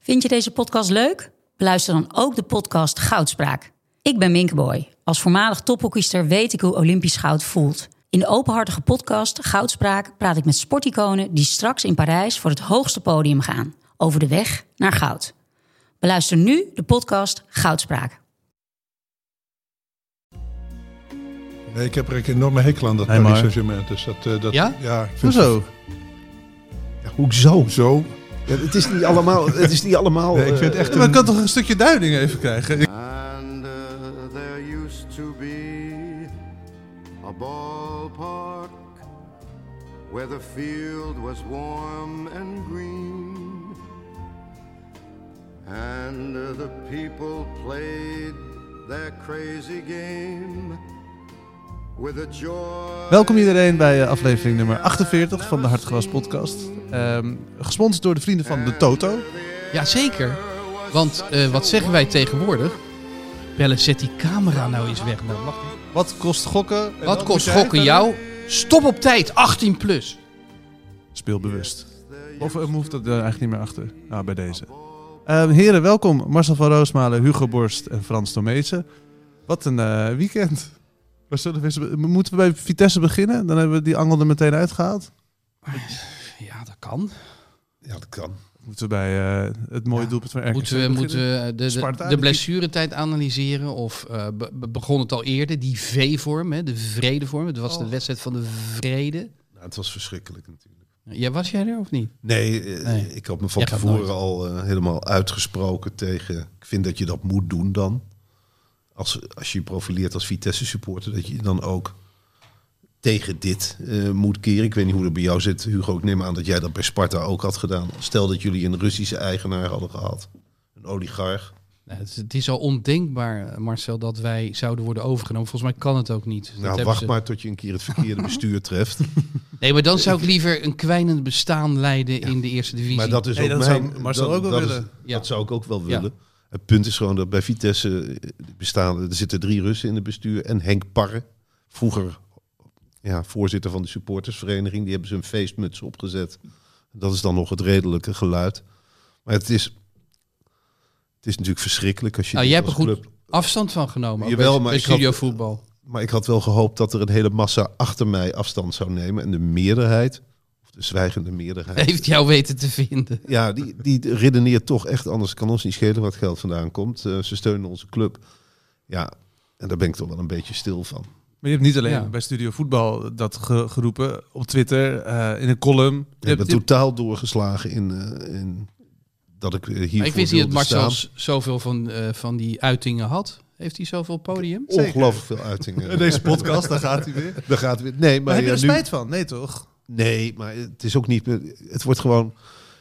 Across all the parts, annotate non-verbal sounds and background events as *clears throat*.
Vind je deze podcast leuk? Beluister dan ook de podcast Goudspraak. Ik ben Minke Boy. Als voormalig tophockeyster weet ik hoe Olympisch goud voelt. In de openhartige podcast Goudspraak praat ik met sporticonen die straks in Parijs voor het hoogste podium gaan. Over de weg naar goud. Beluister nu de podcast Goudspraak. Nee, ik heb er een enorme hekel aan dat Nee, maar- Paris Saint-Germain. Dus dat, eh, dat, Ja? Ja, ik vind Hoezo? het- hoezo? Zo. Ja, het is niet allemaal. Het is niet allemaal Nee, ik vind het eh, echt Maar een... ik kan toch een stukje duiding even krijgen? Ik- And uh, there used to be a ballpark where the field was warm and green, and uh, the people played their crazy game with a joy. Welkom iedereen bij eh, aflevering nummer 48 van de Hartgras podcast. Ehm, gesponsord door de vrienden van de Toto. Jazeker. Want eh, wat zeggen wij tegenwoordig? Bellen, zet die camera nou eens weg. man. Wacht even. Wat kost gokken? En Wat dan kost moet jij gokken verder- jou? Stop op tijd, 18 plus. Speelbewust. Of eh, hoeft dat er eigenlijk niet meer achter? Nou, bij deze. Ehm, heren, welkom. Marcel van Roosmalen, Hugo Borst en Frans Tomezen. Wat een eh, weekend. We zullen we eens- moeten we bij Vitesse beginnen? Dan hebben we die angel er meteen uitgehaald. Ja, dat kan. Ja, dat kan. Moeten we bij eh, het mooie Ja. doelpunt van RKC Moeten we, beginnen? moeten we de, Sparta, de, de die- blessuretijd analyseren? Of eh, be- be- begon het al eerder? Die V-vorm, hè, de vredevorm. Het Oh. was de wedstrijd van de vrede. nou, het was verschrikkelijk natuurlijk. Ja, was jij er of niet? Nee, eh, Nee. ik had me van Jij gaat tevoren al eh, helemaal uitgesproken tegen. Ik vind dat je dat moet doen dan. Als, als je je profileert als Vitesse supporter, dat je je dan ook tegen dit eh, moet keren. Ik weet niet hoe dat bij jou zit, Hugo. Ik neem aan dat jij dat bij Sparta ook had gedaan. Stel dat jullie een Russische eigenaar hadden gehad. Een oligarch. Nou, het, is- het is al ondenkbaar, eh, Marcel, dat wij zouden worden overgenomen. Volgens mij kan het ook niet. Dat nou, hebben wacht ze- maar tot je een keer het verkeerde bestuur treft. *laughs* Nee, maar dan zou ik liever een kwijnend bestaan leiden in de eerste divisie. Maar dat is Nee, ook dat zou mijn... Marcel dat- ook wel dat willen. Is, Ja. Dat zou ik ook wel Ja. willen. Het punt is gewoon dat bij Vitesse eh, bestaan... Er zitten drie Russen in het bestuur. En Henk Parre, vroeger ja, voorzitter van de supportersvereniging... die hebben ze een feestmuts opgezet. Dat is dan nog het redelijke geluid. Maar het is... Het is natuurlijk verschrikkelijk als je... Nou, dit jij hebt er als goed club- afstand van genomen. ook Jawel, bij, maar bij ik had- studio voetbal. Maar ik had wel gehoopt dat er een hele massa achter mij afstand zou nemen. En de meerderheid, of de zwijgende meerderheid... Heeft jou weten te vinden. Ja, die, die redeneert toch echt anders. Kan ons niet schelen wat geld vandaan komt. Eh, ze steunen onze club. Ja, en daar ben ik toch wel een beetje stil van. Maar je hebt niet alleen Ja. bij Studio Voetbal dat ge- geroepen op Twitter, eh, in een column. Je Ik hebt- ben je- totaal doorgeslagen in, eh, in dat ik eh, Maar hiervoor ik wist niet wilde dat Marcel staan. s- zoveel van, eh, van die uitingen had. Heeft hij zoveel podium? Ongelooflijk veel uitingen. Deze podcast, daar gaat hij weer. Maar, *laughs* Daar gaat weer. Nee, maar, heb je ja, er nu- spijt van? Nee, toch? Oh, Nee, maar het is ook niet. meer- Het wordt gewoon.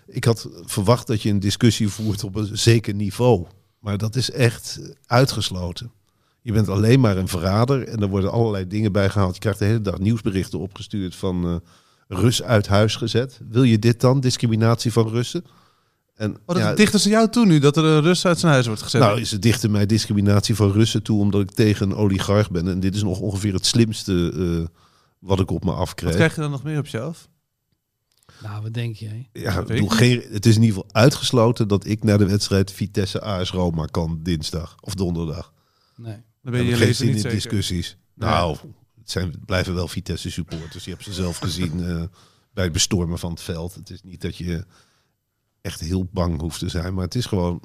Ik had verwacht dat je een discussie voert op een zeker niveau. Maar dat is echt uitgesloten. Je bent alleen maar een verrader en er worden allerlei dingen bijgehaald. Je krijgt de hele dag nieuwsberichten opgestuurd van eh, Rus uit huis gezet. Wil je dit dan? Discriminatie van Russen? En, Oh, dat ja, dichten ze jou toe nu, dat er een Rus uit zijn huis wordt gezet. nou, ze dichten mij discriminatie van Russen toe omdat ik tegen een oligarch ben. En dit is nog ongeveer het slimste eh, wat ik op me Wat afkreeg. krijg je dan nog meer op jezelf? Nou, wat denk jij? Ja, Dat ik weet bedoel, ik geen, het is in ieder geval uitgesloten dat ik naar de wedstrijd Vitesse AS Roma kan dinsdag of donderdag. Nee. Dan Ik ben je je heb geen leven zin in niet zeker. discussies. Nou, het zijn, het blijven wel Vitesse supporters. Je hebt ze zelf gezien *laughs* eh, bij het bestormen van het veld. Het is niet dat je echt heel bang hoeft te zijn, maar het is gewoon.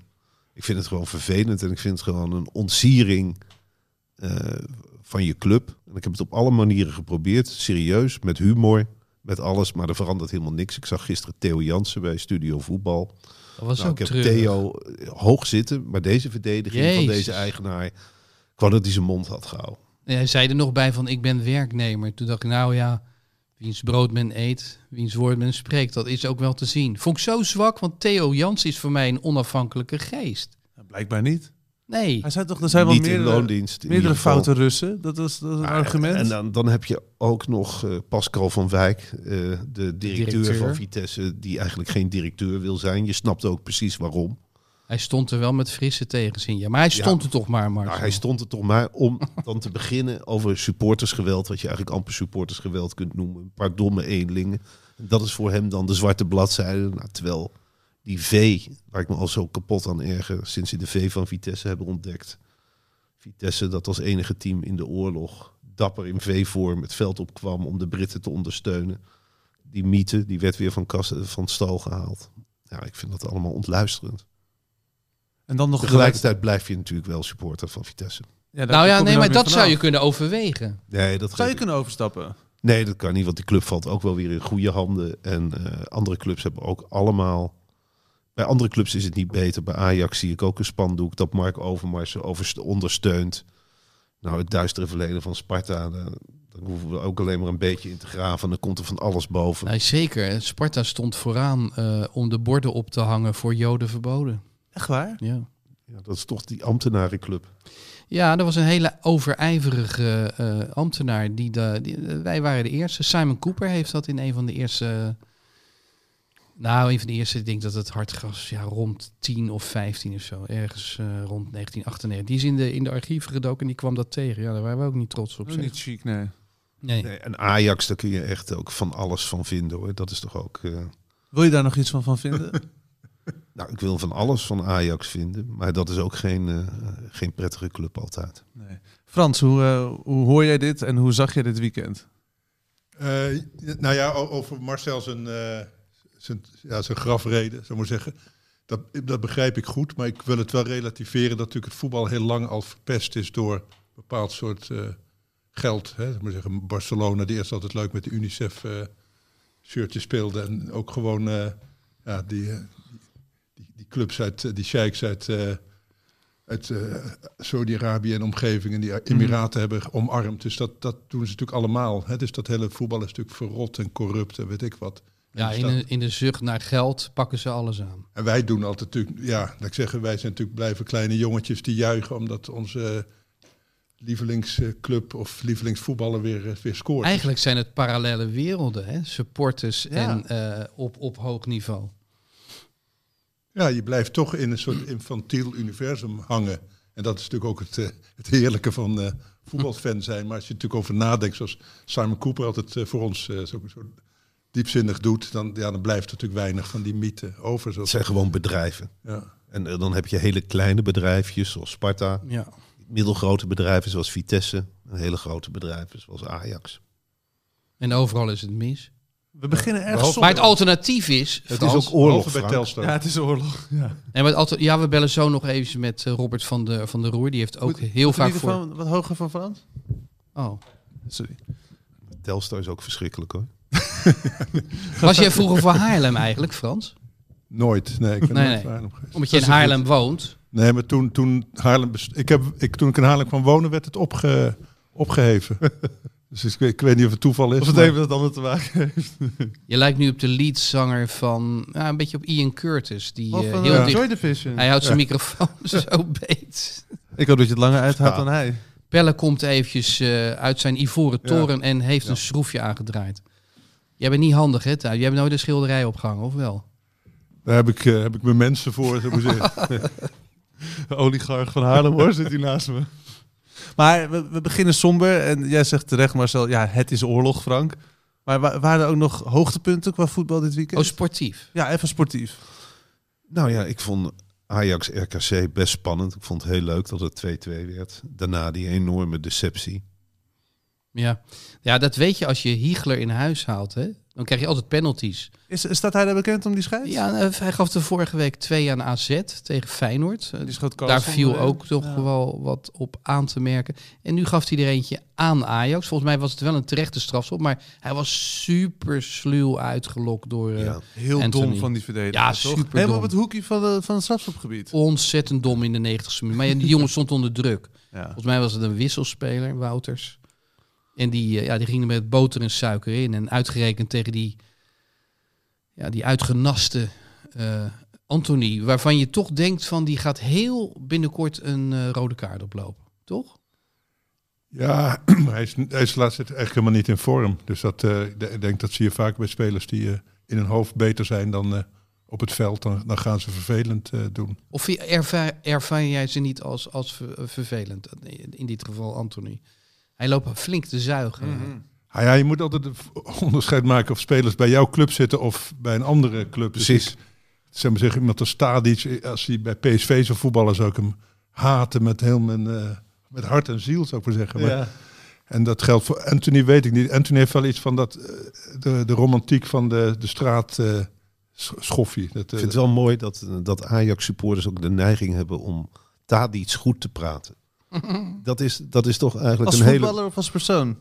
Ik vind het gewoon vervelend en ik vind het gewoon een ontsiering eh, van je club. En ik heb het op alle manieren geprobeerd, serieus, met humor, met alles, maar er verandert helemaal niks. Ik zag gisteren Theo Jansen bij Studio Voetbal. Dat was Nou, ook ik heb treurig. Theo eh, hoog zitten, maar deze verdediging van Jezus. deze eigenaar, ik wou dat hij zijn mond had gehouden. Nee, Hij zei er nog bij van, ik ben werknemer. Toen dacht ik, nou ja, wiens brood men eet, wiens woord men spreekt. Dat is ook wel te zien. Vond ik zo zwak, want Theo Jans is voor mij een onafhankelijke geest. Blijkbaar niet. Nee. Hij zei toch, er zijn wel Niet in meerdere, loondienst. in meerdere ieder geval. foute Russen. Dat was, dat was een Maar- argument. En dan, dan heb je ook nog eh, Pascal van Wijk, eh, de directeur, Directeur. van Vitesse, die eigenlijk geen directeur wil zijn. Je snapt ook precies waarom. Hij stond er wel met frisse tegenzin. Ja, maar hij stond er toch maar, Marcel. Nou, hij stond er toch maar om dan te beginnen over supportersgeweld, wat je eigenlijk amper supportersgeweld kunt noemen. Een paar domme eenlingen. Dat is voor hem dan de zwarte bladzijde. Nou, terwijl die V, waar ik me al zo kapot aan erger, sinds ze de V van Vitesse hebben ontdekt. Vitesse dat als enige team in de oorlog dapper in V-vorm het veld opkwam om de Britten te ondersteunen. Die mythe, die werd weer van, kas, van stal gehaald. Ja, ik vind dat allemaal ontluisterend. En dan nog Tegelijkertijd blijf je natuurlijk wel supporter van Vitesse. Ja, daar Nou ja, kom je nee, nooit maar meer dat zou je vanaf. kunnen overwegen. Nee dat, Zou geef je ik- kunnen overstappen? nee, dat kan niet, want die club valt ook wel weer in goede handen. En eh, andere clubs hebben ook allemaal... Bij andere clubs is het niet beter. Bij Ajax zie ik ook een spandoek dat Mark Overmars overst- ondersteunt. Nou, het duistere verleden van Sparta, daar, daar hoeven we ook alleen maar een beetje in te graven. Dan komt er van alles boven. Nee, zeker. Sparta stond vooraan eh, om de borden op te hangen voor Joden verboden. Echt waar? Ja. Ja, dat is toch die ambtenarenclub. Ja, er was een hele overijverige eh, ambtenaar. Die de, die- eh, wij waren de eerste. Simon Cooper heeft dat in een van de eerste. Nou, een van de eerste. Ik denk dat het hartgas ja, rond 10 of 15 of zo. Ergens eh, rond 1998. Die is in de, in de archieven gedoken en die kwam dat tegen. Ja, daar waren we ook niet trots op. Ook zeg. niet chic, nee. Nee. Nee, en Ajax, daar kun je echt ook van alles van vinden hoor. Dat is toch ook... eh, Wil je daar nog iets van, van *laughs* vinden? Nou, ik wil van alles van Ajax vinden, maar dat is ook geen, eh, geen prettige club altijd. nee. Frans, hoe, eh, hoe hoor jij dit en hoe zag je dit weekend? Eh, nou ja, o- over Marcel zijn, eh, zijn, ja, zijn grafreden, zou ik maar zeggen. Dat, dat begrijp ik goed, maar ik wil het wel relativeren dat natuurlijk het voetbal heel lang al verpest is door een bepaald soort eh, geld. Hè. Zou ik maar zeggen, Barcelona, die eerst altijd leuk met de UNICEF eh shirtje speelde. En ook gewoon eh, ja, die, eh, die, die clubs uit, eh, die sheiks uit, eh, uit eh, Saudi-Arabië en omgevingen, Mhm. die Emiraten hebben omarmd. Dus dat, dat doen ze natuurlijk allemaal. Hè? Dus dat hele voetbal is natuurlijk verrot en corrupt en weet ik wat. Ja, dus in de, in de zucht naar geld pakken ze alles aan. En wij doen altijd natuurlijk, ja, laat ik zeggen, wij zijn natuurlijk blijven kleine jongetjes die juichen omdat onze lievelingsclub of lievelingsvoetballer weer, eh, weer scoort. Eigenlijk zijn het parallele werelden, hè? supporters Ja. en eh, op, op hoog niveau. Ja, je blijft toch in een soort infantiel universum hangen. En dat is natuurlijk ook het, eh, het heerlijke van eh, voetbalfan zijn. Maar als je natuurlijk over nadenkt, zoals Simon Cooper altijd eh, voor ons eh, zo, zo diepzinnig doet, dan, ja, dan blijft er natuurlijk weinig van die mythe over. Het Zoals, zijn gewoon bedrijven. ja. En eh, dan heb je hele kleine bedrijfjes zoals Sparta, Ja. middelgrote bedrijven zoals Vitesse en hele grote bedrijven zoals Ajax. En overal is het mis. We beginnen erg hopen- Maar het alternatief is. Het Frans, is ook oorlog, Behalve bij Frank. Telstar. Ja, het is oorlog. Ja. Nee, maar het alter- ja, we bellen zo nog even met eh, Robert van de, van de Roer. Die heeft ook Moet- heel Moet de vaak voor. microfoon Wat hoger van Frans? Oh. Sorry. Telstar is ook verschrikkelijk hoor. Was jij vroeger van Haarlem eigenlijk, Frans? Nooit, nee. Ik ben Nee, nooit nee. naar Haarlem geweest. Omdat je in Dat is een Haarlem woont. Nee, maar toen, toen, Haarlem best- ik heb, ik, toen ik in Haarlem kwam wonen, werd het opge, opgeheven. dus ik, weet- ik weet niet of het toeval is. Of het maar- een met het ander te maken heeft. Je lijkt nu op de leadzanger van. Ja, een beetje op Ian Curtis. Die Of eh, van heel eh, dicht. Joy Division. Hij houdt zijn microfoon *laughs* zo beet. Ik hoop dat je het langer uithoudt dan hij. Pelle komt eventjes eh, uit zijn ivoren Ja. toren en heeft een schroefje aangedraaid. Jij bent niet handig, hè? Thijs? Jij hebt nooit een schilderij opgehangen, of wel? Daar heb ik, eh, heb ik mijn mensen voor. zou ik maar zeggen. De oligarch van Haarlem hoor, zit hier naast me. *laughs* Maar we, we beginnen somber en jij zegt terecht Marcel, ja het is oorlog Frank. Maar wa- waren er ook nog hoogtepunten qua voetbal dit weekend? Oh, sportief. ja, even sportief. Nou ja, ik vond Ajax RKC best spannend. Ik vond het heel leuk dat het 2-2 werd. Daarna die enorme deceptie. Ja. ja, dat weet je als je Hiegler in huis haalt, hè? Dan krijg je altijd penalties. Is, staat hij daar bekend om die scheids? Ja, eh, hij gaf er vorige week twee aan AZ tegen Feyenoord. Eh, Die schoot Daar Carlson eh, viel erin. ook toch Ja. wel wat op aan te merken. En nu gaf hij er eentje aan Ajax. Volgens mij was het wel een terechte strafschop, maar hij was super sluw uitgelokt door... eh, Ja. Heel Anthony. dom van die verdediger. Ja, toch? superdom. Helemaal op het hoekje van, de, van het strafschopgebied. Ontzettend dom in de 90 minuut. Maar ja, die jongen stond onder druk. Ja. Volgens mij was het een wisselspeler, Wouters. En die, eh, ja, die ging er met boter en suiker in. En uitgerekend tegen die, ja, die uitgenaste eh, Anthony. Waarvan je toch denkt van die gaat heel binnenkort een eh, rode kaart oplopen. Toch? Ja, *clears throat* maar hij is, hij is laatst eigenlijk helemaal niet in vorm. Dus dat, eh, ik de- ik denk dat zie je vaak bij spelers die eh, in hun hoofd beter zijn dan eh, op het veld. Dan, dan gaan ze vervelend eh, doen. Of je- ervaar, ervaar jij ze niet als, als ver- eh, vervelend? In dit geval Anthony. Hij loopt flink te zuigen. Ah, ja, je moet *laughs* altijd een v- onderscheid maken of spelers bij jouw club zitten of bij een andere club. Dus Precies. ik- zeg maar zeggen, iemand als Stadic, als hij bij PSV zou voetballen, zou ik hem haten met heel mijn, eh, met hart en ziel, zou ik maar zeggen. Maar, Ja. En dat geldt voor Anthony, weet ik niet. Anthony heeft wel iets van dat, eh, de, de romantiek van de, de straat eh, sch- schoffie. Dat, Ik eh, vind het wel mooi dat, eh, dat Ajax-supporters ook de neiging hebben om Tadic goed te praten. Dat is, dat is toch eigenlijk Als een hele... voetballer of als persoon?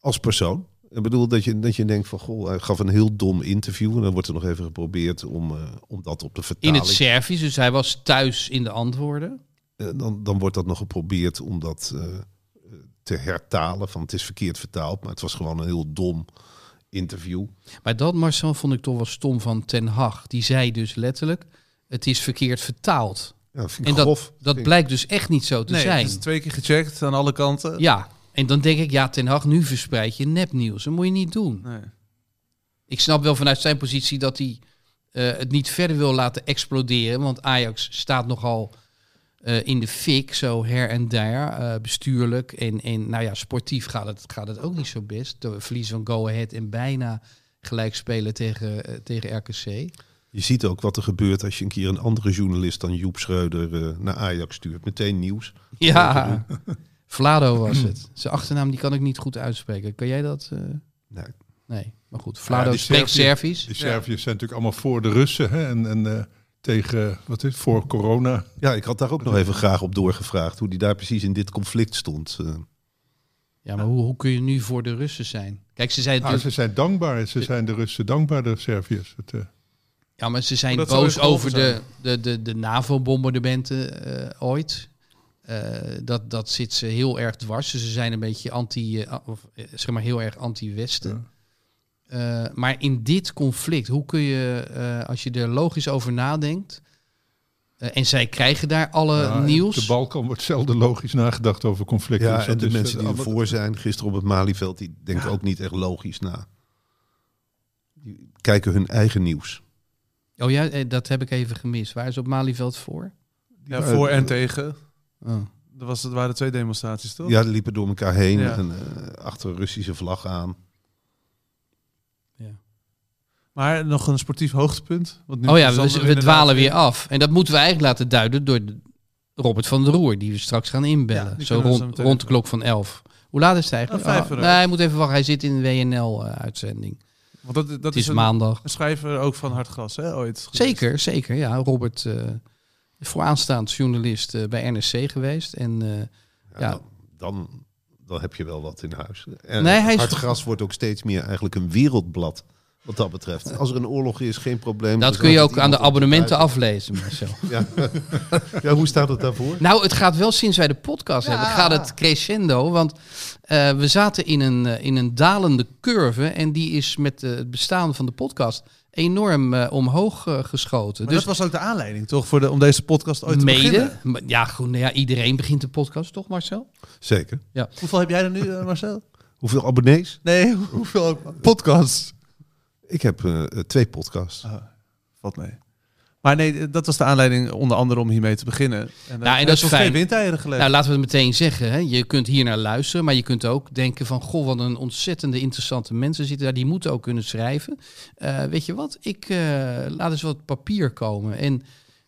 als persoon. Ik bedoel dat je, dat je denkt van, goh, hij gaf een heel dom interview. En dan wordt er nog even geprobeerd om, eh, om dat op de In vertaling... het Servisch, dus hij was thuis in de antwoorden. Eh, dan, dan wordt dat nog geprobeerd om dat eh, eh, te hertalen. Van het is verkeerd vertaald, maar het was gewoon een heel dom interview. Maar dat, Marcel, vond ik toch wel stom van Ten Hag. Die zei dus letterlijk, het is verkeerd vertaald. Ja, vind ik En dat, grof. dat Vind ik- blijkt dus echt niet zo te nee, zijn. het is twee keer gecheckt aan alle kanten. Ja, en dan denk ik, ja, Ten Hag, nu verspreid je nepnieuws. Dat moet je niet doen. Nee. Ik snap wel vanuit zijn positie dat hij eh, het niet verder wil laten exploderen. Want Ajax staat nogal eh, in de fik, zo her en daar. eh, bestuurlijk en, en nou ja, sportief gaat het, gaat het ook niet zo best. De verlies van Go Ahead en bijna gelijk spelen tegen, eh, tegen RKC. Je ziet ook wat er gebeurt als je een keer een andere journalist dan Joep Schreuder eh, naar Ajax stuurt. Meteen nieuws. Ja, *laughs* Vlado was het. Zijn achternaam die kan ik niet goed uitspreken. Kan jij dat? eh? Nee. Nee, maar goed. Vlado die spreekt Servië- Servisch. Die Serviërs zijn natuurlijk allemaal voor de Russen hè? en, en eh, tegen, wat is het, voor corona. Ja, ik had daar ook nog even graag op doorgevraagd hoe die daar precies in dit conflict stond. Eh, Ja, maar hoe, hoe kun je nu voor de Russen zijn? Kijk, ze zijn Nou, natuurlijk ze zijn dankbaar, ze zijn de Russen dankbaar, de Serviërs. Het, eh, Ja, maar ze zijn Omdat ze ooit boos geholpen over de, de, de, de NAVO-bombardementen eh, ooit. Eh, dat, dat zit ze heel erg dwars. Dus ze zijn een beetje anti, eh, of, eh, zeg maar heel erg anti-Westen. Eh, maar in dit conflict, hoe kun je, eh, als je er logisch over nadenkt. eh, en zij krijgen daar alle nou, eh, nieuws. Op de Balkan wordt zelden logisch nagedacht over conflicten. ja, Dus en dat de is, eh, mensen die allemaal- ervoor zijn, gisteren op het Malieveld, die denken ook niet echt logisch na. Die kijken hun eigen nieuws. Oh ja, eh, dat heb ik even gemist. Waar is op Malieveld voor? Ja, voor eh, en tegen. Oh. Er, was, er waren twee demonstraties, toch? Ja, die liepen door elkaar heen Ja. en eh, achter een Russische vlag aan. Maar nog een sportief hoogtepunt. Want nu Oh ja, is we, Sander we inderdaad dwalen weer af. En dat moeten we eigenlijk laten duiden door Robert van der Roer, die we straks gaan Ja, inbellen. die zo kunnen we rond, zo meteen rond even. de klok van 11. Hoe laat is het eigenlijk? Ah, vijf Oh, uur. nee, hij moet even wachten. Hij zit in de WNL-uitzending. Want dat, dat eh, Het is, is een, maandag. een schrijver ook van Hartgras, hè, ooit. geweest. Zeker, zeker. Ja, Robert, eh, vooraanstaand journalist eh, bij NRC geweest. En eh, Ja, Ja. Dan, dan, dan heb je wel wat in huis. En Nee, hij is Hard Gras wordt ook steeds meer eigenlijk een wereldblad. Wat dat betreft. Als er een oorlog is, geen probleem. dat Er kun je staat ook aan de iemand op abonnementen buiten. aflezen, Marcel. Ja. ja, hoe staat het daarvoor? Nou, het gaat wel sinds wij de podcast hebben, gaat het crescendo. Want eh, we zaten in een, eh, in een dalende curve. En die is met eh, het bestaan van de podcast enorm eh, omhoog eh, geschoten. Maar dus dat was ook de aanleiding, toch, voor de, om deze podcast ooit te beginnen? mede. maar Ja, goed, nou ja, iedereen begint de podcast, toch, Marcel? Zeker. Hoeveel heb jij er nu, eh, Marcel? Hoeveel abonnees? Nee, *laughs* hoeveel podcasts? Ik heb eh, twee podcasts. Valt mee. Maar nee, dat was de aanleiding onder andere om hiermee te beginnen. En, eh, Nou, dat hij is heeft ons fijn. geen windeieren gelegd. Nou, laten we het meteen zeggen. Hè. Je kunt hier naar luisteren, maar je kunt ook denken van... goh, wat een ontzettende interessante mensen zitten daar. Die moeten ook kunnen schrijven. Eh, weet je wat? Ik eh, laat eens wat papier komen. En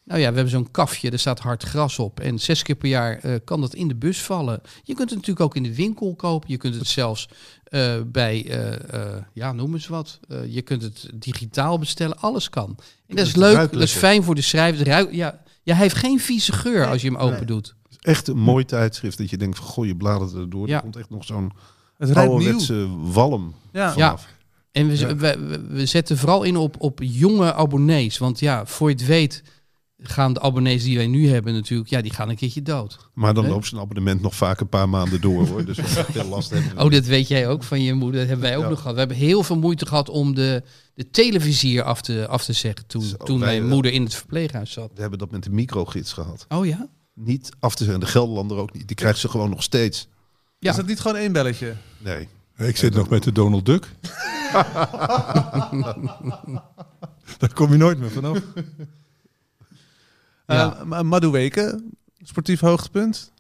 nou ja, we hebben zo'n kafje, daar staat hard gras op. En zes keer per jaar eh, kan dat in de bus vallen. Je kunt het natuurlijk ook in de winkel kopen. Je kunt het zelfs eh, bij, eh, eh, ja, noem eens wat. Eh, je kunt het digitaal bestellen. Alles kan. En dat is leuk, dat is fijn voor de schrijver. Het ruikt- ja, ja, hij heeft geen vieze geur als je hem open doet. Het is echt een mooi tijdschrift dat je denkt van, goh, je bladert erdoor. Ja. Er komt echt nog zo'n het rijdt nieuw. ouderwetse walm Ja. Ja. vanaf. En we, we, we- we zetten vooral in op, op jonge abonnees. Want ja, voor je het weet gaan de abonnees die wij nu hebben natuurlijk... Ja, die gaan een keertje dood. Maar dan Hè? loopt zijn abonnement nog vaak een paar maanden door *laughs* hoor. Dus veel last hebben we Oh, dat weet jij ook van je moeder. Dat hebben wij ook Ja. nog gehad. We hebben heel veel moeite gehad om de, de televisier af te, af te zeggen... toen, Zo, toen wij mijn wel. moeder in het verpleeghuis zat. We hebben dat met de microgids gehad. Oh ja? Niet af te zijn. De Gelderlander ook niet. Die krijgt ze gewoon nog steeds. Ja. Is dat niet gewoon één *laughs* belletje? Nee. Ik zit nog met de Donald Duck. Daar kom je nooit meer vanaf. Ja. Eh, Ma- Madueke, sportief hoogtepunt.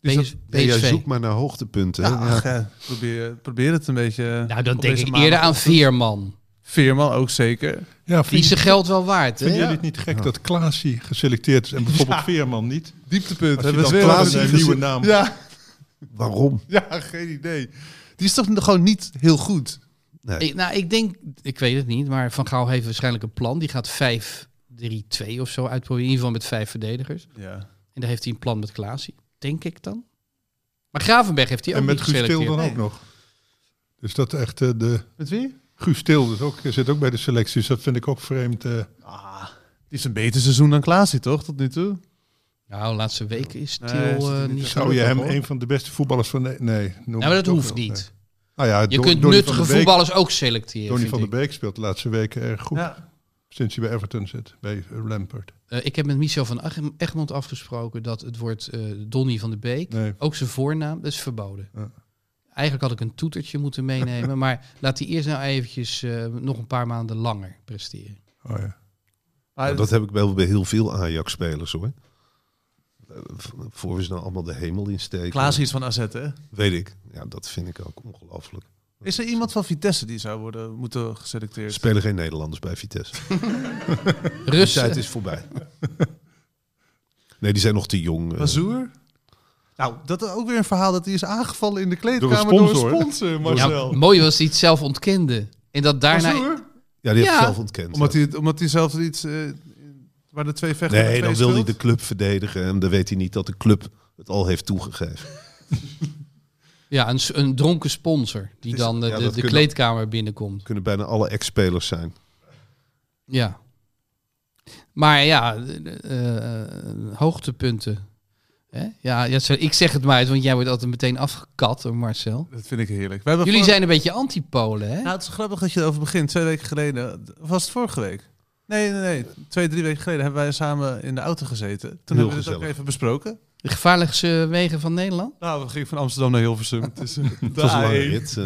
Die PS- zat- Nee, jij PSV. zoekt maar naar hoogtepunten. hè? Ja, Ja. ach, eh, probeer, probeer het een beetje. Nou, dan op denk deze ik eerder aan maandagochtend. Veerman. Veerman ook zeker. Ja, Die vind, is zijn geld wel waard. vinden Hè? jullie het niet gek dat Klaasie geselecteerd is en bijvoorbeeld Veerman niet? Dieptepunt. Als je hebben we dan het weer Klaas over een die- nieuwe naam. Ja, Waarom? *laughs* ja, geen idee. Die is toch gewoon niet heel goed? Ik, nou, ik denk, ik weet het niet, maar Van Gaal heeft waarschijnlijk een plan. Die gaat 5-3-2 of zo uitproberen. In ieder geval met vijf verdedigers. Ja. En daar heeft hij een plan met Klaasie, denk ik dan. Maar Gravenberg heeft hij ook En met niet Guus Til geselecteerd. dan ook nog. Dus dat echt eh, de... Met wie? Guus Til dus ook, zit ook bij de selecties. Dat vind ik ook vreemd. eh. Ah, die is een beter seizoen dan Klaasie, toch? Tot nu toe. Nou, laatste week is Til Nee, is het eh, niet. niet zou Oh, je gelukkig, hem hoor. een van de beste voetballers van... Nee, nee noem Nou, maar het dat ook hoeft wel. niet. Nou ja, Je Don- Donny kunt van nuttige der Beek- voetballers ook selecteren. Donny vind van der ik. Beek speelt de laatste weken erg goed. Ja. Sinds hij bij Everton zit, bij eh, Lampard. Eh, ik heb met Michel van Ach- Egmond afgesproken dat het woord eh Donny van der Beek, Nee. ook zijn voornaam, dat is verboden. Ja. Eigenlijk had ik een toetertje moeten *laughs* meenemen, maar laat hij eerst nou eventjes eh, nog een paar maanden langer presteren. Oh, ja. Maar dat heb ik wel bij heel veel Ajax-spelers hoor. Eh, v- Voor we ze nou allemaal de hemel insteken. Klaasie is van AZ, hè? Weet ik. Ja, dat vind ik ook ongelooflijk. Is er iemand van Vitesse die zou worden moeten geselecteerd? Er spelen geen Nederlanders bij *laughs* Vitesse. De Russen, tijd is voorbij. Nee, die zijn nog te jong. eh. Bazoer? Nou, dat is ook weer een verhaal dat hij is aangevallen in de kleedkamer Door door een een sponsor, sponsor, hè? ja, Marcel. mooi was hij het zelf ontkende. En dat daarna... Bazoer? Ja, die heeft Ja. zelf ontkend. Omdat ja. hij, omdat hij zelf iets... eh, waar de twee vechten Nee, met dan twee wil hij de speelt. club verdedigen. En dan weet hij niet dat de club het al heeft toegegeven. Ja, een, s- een dronken sponsor die is- dan eh, ja, de, dat de kunnen- kleedkamer binnenkomt. Het kunnen bijna alle ex-spelers zijn. Ja. Maar ja, eh, eh, hoogtepunten. Hè? Ja, ja, zo- ik zeg het maar uit, want jij wordt altijd meteen afgekat door Marcel. Dat vind ik heerlijk. We hebben Jullie vor- zijn een beetje antipolen, hè? Nou, het is grappig dat je erover begint. Twee weken geleden, of was het vorige week? Nee, nee, nee. Twee, drie weken geleden hebben wij samen in de auto gezeten. Toen hebben we het ook gezellig. even besproken. De gevaarlijkste wegen van Nederland? Nou, we gingen van Amsterdam naar Hilversum. Het is, eh, *laughs* Het was een lange rit. eh.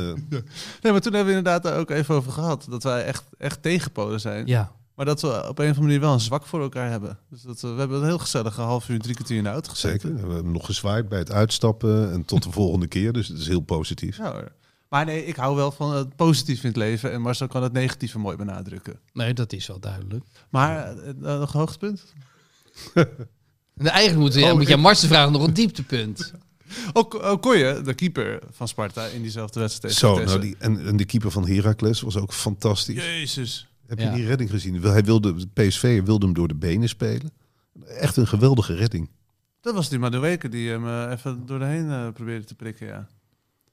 Nee, maar toen hebben we inderdaad daar ook even over gehad. Dat wij echt, echt tegenpolen Eh, zijn. Ja. Maar dat we op een of andere manier wel een zwak voor elkaar hebben. Dus dat, we, we hebben een heel gezellige half uur, drie kwartier in de auto gezeten. Zeker. We hebben hem nog gezwaaid bij het uitstappen en tot de volgende keer. Dus dat is heel positief. Ja, hoor. maar nee, ik hou wel van het positieve in het leven. En Marcel kan het negatieve mooi benadrukken. Nee, dat is wel duidelijk. Maar eh, eh, nog een hoogtepunt? En eigenlijk moet, ja, Oh, moet ik- je aan Marcel vragen nog een dieptepunt. *laughs* Ook oh, Okoye, de keeper van Sparta, in diezelfde wedstrijd tegen Zo, Vitesse. nou die, en, en de keeper van Heracles was ook fantastisch. Jezus. Heb Ja. je die redding gezien? Wel, Hij wilde, PSV wilde hem door de benen spelen. Echt een geweldige redding. Dat was die Madueke die hem eh, even door de heen eh, probeerde te prikken, ja. keeper-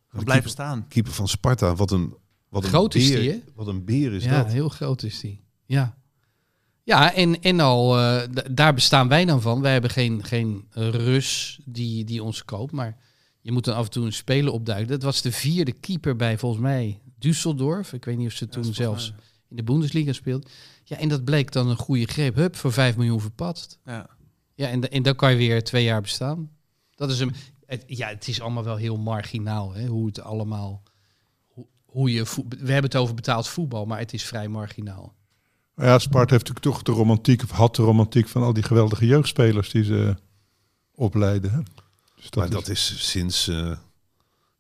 Gewoon blijven staan. Keeper van Sparta, wat een, wat een Groot is beer. die, hè? Wat een beer is ja, dat. heel groot is die. Ja, ja en, en al, eh, d- daar bestaan wij dan van. Wij hebben geen, geen Rus die, die ons koopt, maar je moet dan af en toe een speler opduiken. Dat was de vierde keeper bij volgens mij Düsseldorf. Ik weet niet of ze toen Ja, zelfs volgens in de Bundesliga speelt. Ja, en dat bleek dan een goede greep. Hup, voor 5 miljoen verpatst. mij, Ja. Ja, en, da- en dan kan je weer twee jaar bestaan. Dat is een. Het, ja, het is allemaal wel heel marginaal, hè, hoe het allemaal. Hoe, hoe je voet- we hebben het over betaald voetbal, maar het is vrij marginaal. Maar ja, Sparta heeft natuurlijk toch de romantiek, of had de romantiek van al die geweldige jeugdspelers die ze opleiden. hè. Dus dat maar dat is, sinds, eh,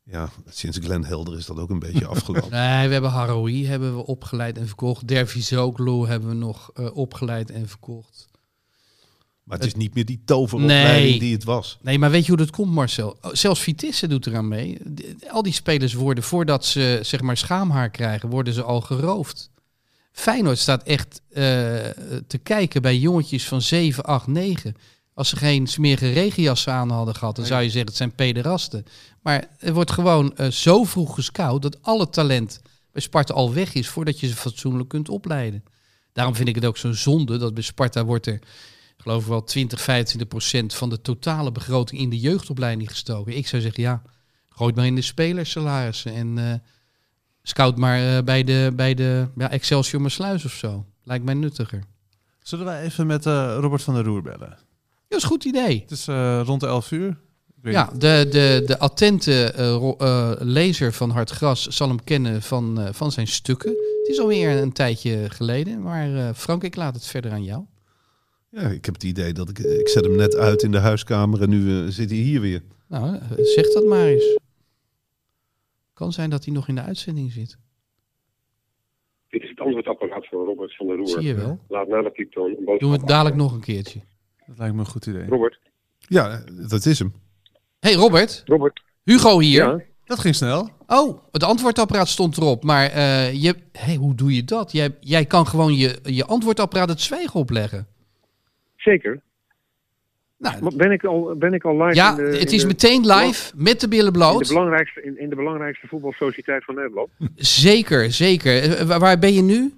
ja, sinds Glenn Helder is dat ook een *laughs* beetje afgelopen. Nee, we hebben Haroui hebben we opgeleid en verkocht. Dervi Zoglu hebben we nog eh, opgeleid en verkocht. Maar het is niet meer die toveropleiding Nee. die het was. Nee, maar weet je hoe dat komt, Marcel? Oh, Zelfs Vitesse doet eraan mee. D- Al die spelers worden, voordat ze zeg maar schaamhaar krijgen, worden ze al geroofd. Feyenoord staat echt eh, te kijken bij jongetjes van 7, 8, 9. Als ze geen smerige regenjassen aan hadden gehad, dan zou je zeggen het zijn pederasten. Maar er wordt gewoon eh, zo vroeg gescout dat alle talent bij Sparta al weg is voordat je ze fatsoenlijk kunt opleiden. Daarom vind ik het ook zo'n zonde dat bij Sparta wordt er ik geloof wel 20, 25 procent van de totale begroting in de jeugdopleiding gestoken. Ik zou zeggen, ja, gooi het maar in de spelersalarissen en eh, scout maar eh, bij de, bij de ja, Excelsior maar sluis of zo. Lijkt mij nuttiger. Zullen wij even met eh, Robert van der Roer bellen? Ja, is een goed idee. Het is eh, rond de 11 uur. Ik weet Ja, de, de, de attente eh, ro- eh, lezer van Hard Gras zal hem kennen van, eh, van zijn stukken. Het is alweer een tijdje geleden, maar eh, Frank, ik laat het verder aan jou. Ja, ik heb het idee dat ik, ik zet hem net uit in de huiskamer en nu eh, zit hij hier weer. Nou, eh, zeg dat maar eens. Kan zijn dat hij nog in de uitzending zit. Dit is antwoordapparaat van Robert van der Roer. Zie je wel. Laat na de pieptoon een boodschap. Doen we het dadelijk nog een keertje. Dat lijkt me een goed idee. Robert, Ja, dat is hem. hey Robert, Robert. Hugo hier. Ja. Dat ging snel. Oh, het antwoordapparaat stond erop. Maar eh, je, hey, hoe doe je dat? Jij, jij kan gewoon je, je antwoordapparaat het zwijgen opleggen. Zeker. Nou, Maar ben ik al, ben ik al live ja, in de, het in is de- meteen live met de billen in de bloot. belangrijkste, in, in de belangrijkste voetbalsociëteit van Nederland. Zeker, zeker. Eh, Waar, waar ben je nu?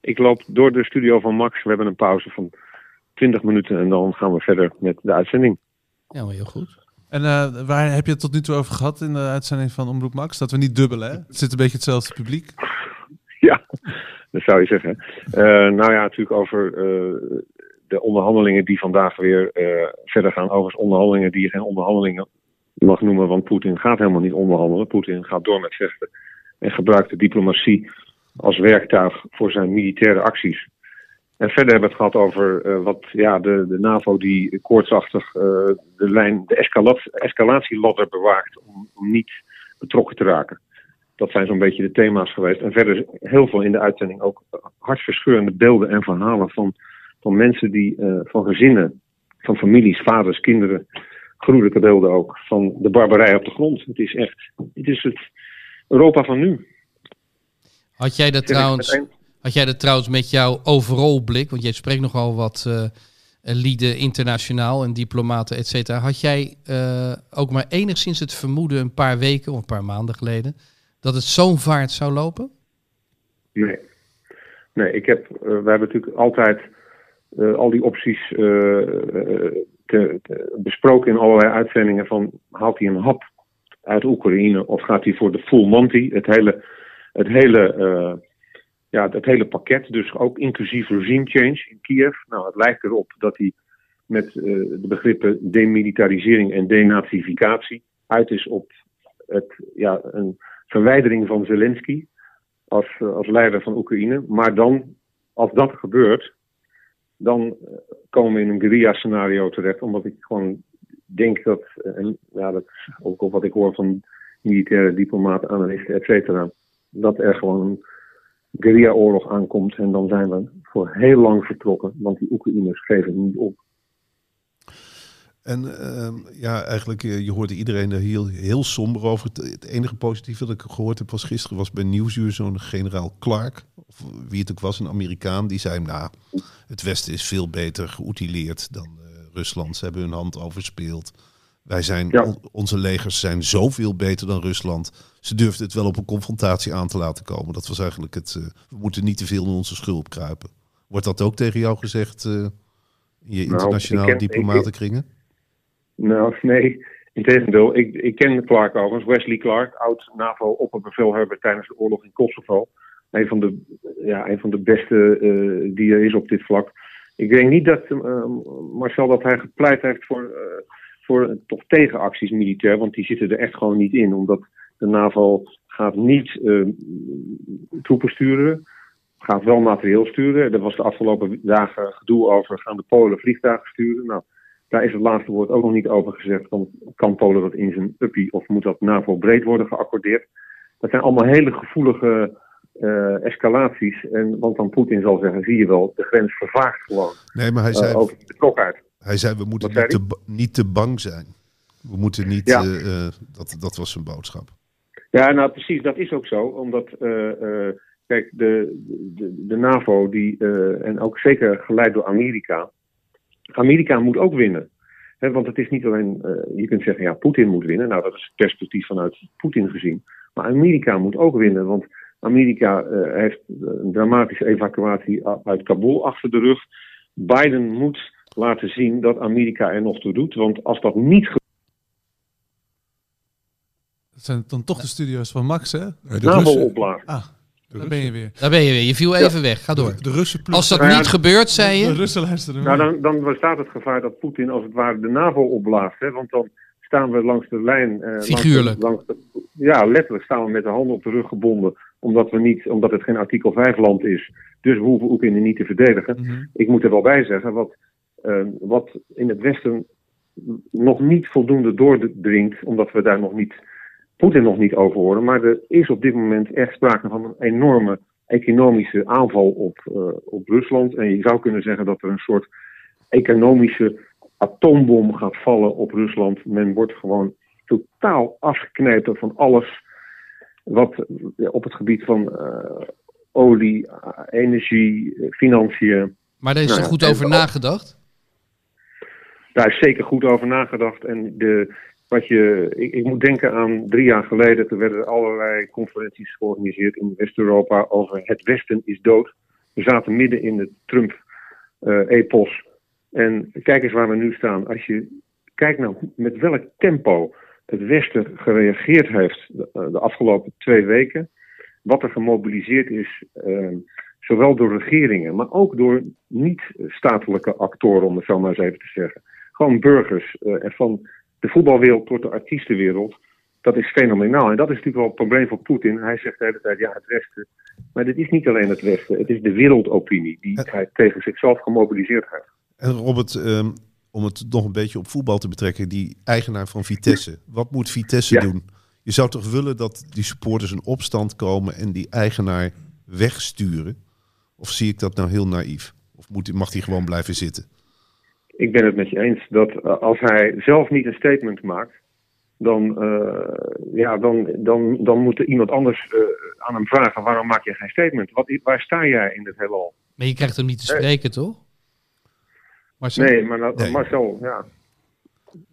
Ik loop door de studio van Max. We hebben een pauze van 20 minuten en dan gaan we verder met de uitzending. Ja, maar heel goed. En eh, waar heb je het tot nu toe over gehad in de uitzending van Omroep Max? Dat we niet dubbelen, hè? Het zit een beetje hetzelfde publiek. Ja, dat zou je zeggen. Eh, nou ja, natuurlijk over eh, de onderhandelingen die vandaag weer eh, verder gaan. Overigens onderhandelingen die je geen onderhandelingen mag noemen, want Poetin gaat helemaal niet onderhandelen. Poetin gaat door met vechten en gebruikt de diplomatie als werktuig voor zijn militaire acties. En verder hebben we het gehad over eh, wat ja, de, de NAVO die koortsachtig eh, de, lijn, de escalat, escalatieladder bewaakt om, om niet betrokken te raken dat zijn zo'n beetje de thema's geweest. En verder heel veel in de uitzending ook hartverscheurende beelden en verhalen van, van mensen die, eh, van gezinnen, van families, vaders, kinderen, gruwelijke beelden ook, van de barbarij op de grond. Het is echt, dit is het Europa van nu. Had jij dat trouwens... Had jij dat trouwens met jouw overal blik, want jij spreekt nogal wat eh, lieden internationaal en diplomaten, et cetera. Had jij eh, ook maar enigszins het vermoeden een paar weken of een paar maanden geleden dat het zo'n vaart zou lopen? Nee. Nee, ik heb, eh, we hebben natuurlijk altijd eh, al die opties eh, eh, te- te- besproken in allerlei uitzendingen van haalt hij een hap uit Oekraïne of gaat hij voor de full Monty, het hele, het hele, eh, ja, het hele pakket, dus ook inclusief regime change in Kiev. Nou, het lijkt erop dat hij met eh, de begrippen demilitarisering en denazificatie uit is op het, ja, een verwijdering van Zelensky als, eh, als leider van Oekraïne. Maar dan, als dat gebeurt, dan eh, komen we in een guerrilla-scenario terecht. Omdat ik gewoon denk dat, eh, en ja, dat is ook op wat ik hoor van militaire diplomaten, analisten, et cetera, dat er gewoon een guerrilla-oorlog aankomt. En dan zijn we voor heel lang vertrokken, want die Oekraïners geven niet op. En ehm, ja, eigenlijk, eh, je hoorde iedereen er heel, heel somber over. Het, het enige positieve dat ik gehoord heb was gisteren was bij Nieuwsuur zo'n generaal Clark, of wie het ook was, een Amerikaan, die zei, nou, het Westen is veel beter geoutileerd dan eh, Rusland. Ze hebben hun hand overspeeld. Wij zijn, Ja. on- onze legers zijn zoveel beter dan Rusland. Ze durfden het wel op een confrontatie aan te laten komen. Dat was eigenlijk het, eh, we moeten niet te veel in onze schulp kruipen. Wordt dat ook tegen jou gezegd eh, in je Nou, internationale ik ken- ik- diplomatenkringen? Nou, *laughs* nee. Integendeel, ik, ik ken Clark overigens, Wesley Clark, oud NAVO-opperbevelhebber tijdens de oorlog in Kosovo. Een van de, ja, een van de beste eh, die er is op dit vlak. Ik denk niet dat eh, Marcel dat hij gepleit heeft voor, eh, voor eh, toch tegenacties militair, want die zitten er echt gewoon niet in, omdat de NAVO gaat niet eh, troepen sturen, gaat wel materieel sturen. Er was de afgelopen dagen gedoe over, gaan de Polen vliegtuigen sturen? Nou, daar is het laatste woord ook nog niet over gezegd. Want kan Polen dat in zijn uppie of moet dat NAVO breed worden geaccordeerd? Dat zijn allemaal hele gevoelige eh, escalaties. En, want dan Poetin zal zeggen, zie je wel, de grens vervaagt gewoon Nee, maar hij eh, zei, over de klok uit. hij zei we moeten Wat niet zei te, ba- niet te bang zijn. We moeten niet, Ja. eh, eh, dat, dat was zijn boodschap. Ja, nou precies, dat is ook zo. Omdat, eh, eh, kijk, de, de, de NAVO, die, eh, en ook zeker geleid door Amerika, Amerika moet ook winnen. Hè, want het is niet alleen, eh, je kunt zeggen, ja, Poetin moet winnen. Nou, dat is het perspectief vanuit Poetin gezien. Maar Amerika moet ook winnen, want Amerika eh, heeft een dramatische evacuatie a- uit Kabul achter de rug. Biden moet laten zien dat Amerika er nog toe doet. Want als dat niet gebeurt. Dat zijn dan toch de studio's van Max, hè? Nee, de, NAVO Russen, opblaast. Ah, daar ben je weer. Daar ben je weer. Je viel even weg. Ga door. de Russen ploeg- Als dat Nou ja, niet gebeurt, zei De je. Russen luisteren Nou, mee. dan, dan bestaat het gevaar dat Poetin als het ware de NAVO opblaast. Hè? Want dan staan we langs de lijn. eh, langs de- Figuurlijk. Langs de, ja, letterlijk staan we met de handen op de rug gebonden. Omdat, we niet, omdat het geen artikel 5 land is. Dus we hoeven Oekraïne niet te verdedigen. Mhm. Ik moet er wel bij zeggen, wat, eh, wat in het Westen nog niet voldoende doordringt. Omdat we daar nog niet, Poetin nog niet over horen. Maar er is op dit moment echt sprake van een enorme economische aanval op, eh, op Rusland. En je zou kunnen zeggen dat er een soort economische atoombom gaat vallen op Rusland. Men wordt gewoon totaal afgeknepen van alles wat eh, op het gebied van eh, olie, eh, energie, eh, financiën. Maar daar is Nou er ja, goed en- over nagedacht. Daar is zeker goed over nagedacht. En de, wat je, ik, ik moet denken aan drie jaar geleden. Toen werden er allerlei conferenties georganiseerd in West-Europa over het Westen is dood. We zaten midden in de Trump-epos. en kijk eens waar we nu staan. Als je kijkt nou hoe- met welk tempo het Westen gereageerd heeft de, eh, de afgelopen twee weken. Wat er gemobiliseerd is, eh, zowel door regeringen, maar ook door niet-statelijke actoren, om het zo maar eens even te zeggen gewoon burgers. eh, en van de voetbalwereld tot de artiestenwereld. Dat is fenomenaal. En dat is natuurlijk wel het probleem voor Poetin. Hij zegt de hele tijd, ja, het Westen. Maar dit is niet alleen het Westen. Het is de wereldopinie die hij tegen zichzelf gemobiliseerd heeft. En Robert, ehm, om het nog een beetje op voetbal te betrekken, die eigenaar van Vitesse. Wat moet Vitesse Ja. doen? Je zou toch willen dat die supporters in opstand komen en die eigenaar wegsturen? Of zie ik dat nou heel naïef? Of moet, mag die gewoon blijven zitten? Ik ben het met je eens dat eh, als hij zelf niet een statement maakt, dan, eh, ja, dan, dan, dan moet er iemand anders eh, aan hem vragen: waarom maak je geen statement? Wat, waar sta jij in dit heelal? Maar je krijgt hem niet te spreken, toch? Marcel? Nee, maar dat- Nee. Marcel, ja.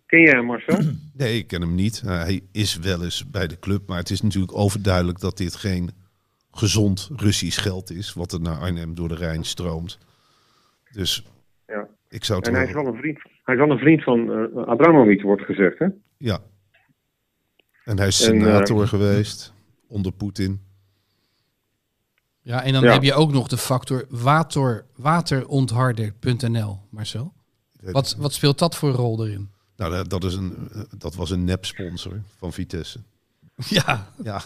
Ken jij hem, Marcel? Nee, ik ken hem niet. Uh, hij is wel eens bij de club, maar het is natuurlijk overduidelijk dat dit geen gezond Russisch geld is, wat er naar Arnhem door de Rijn stroomt. Dus Ja. ik zou het En hij is wel- wel een vriend, hij is wel een vriend van eh Abramovic, wordt gezegd. Hè? Ja. En hij is En, eh, senator geweest onder Poetin. Ja, en dan Ja. heb je ook nog de factor water, waterontharder.nl, Marcel. Wat, wat speelt dat voor rol erin? Nou, dat, dat is een, eh, dat was een nep-sponsor van Vitesse. Ja, Ja.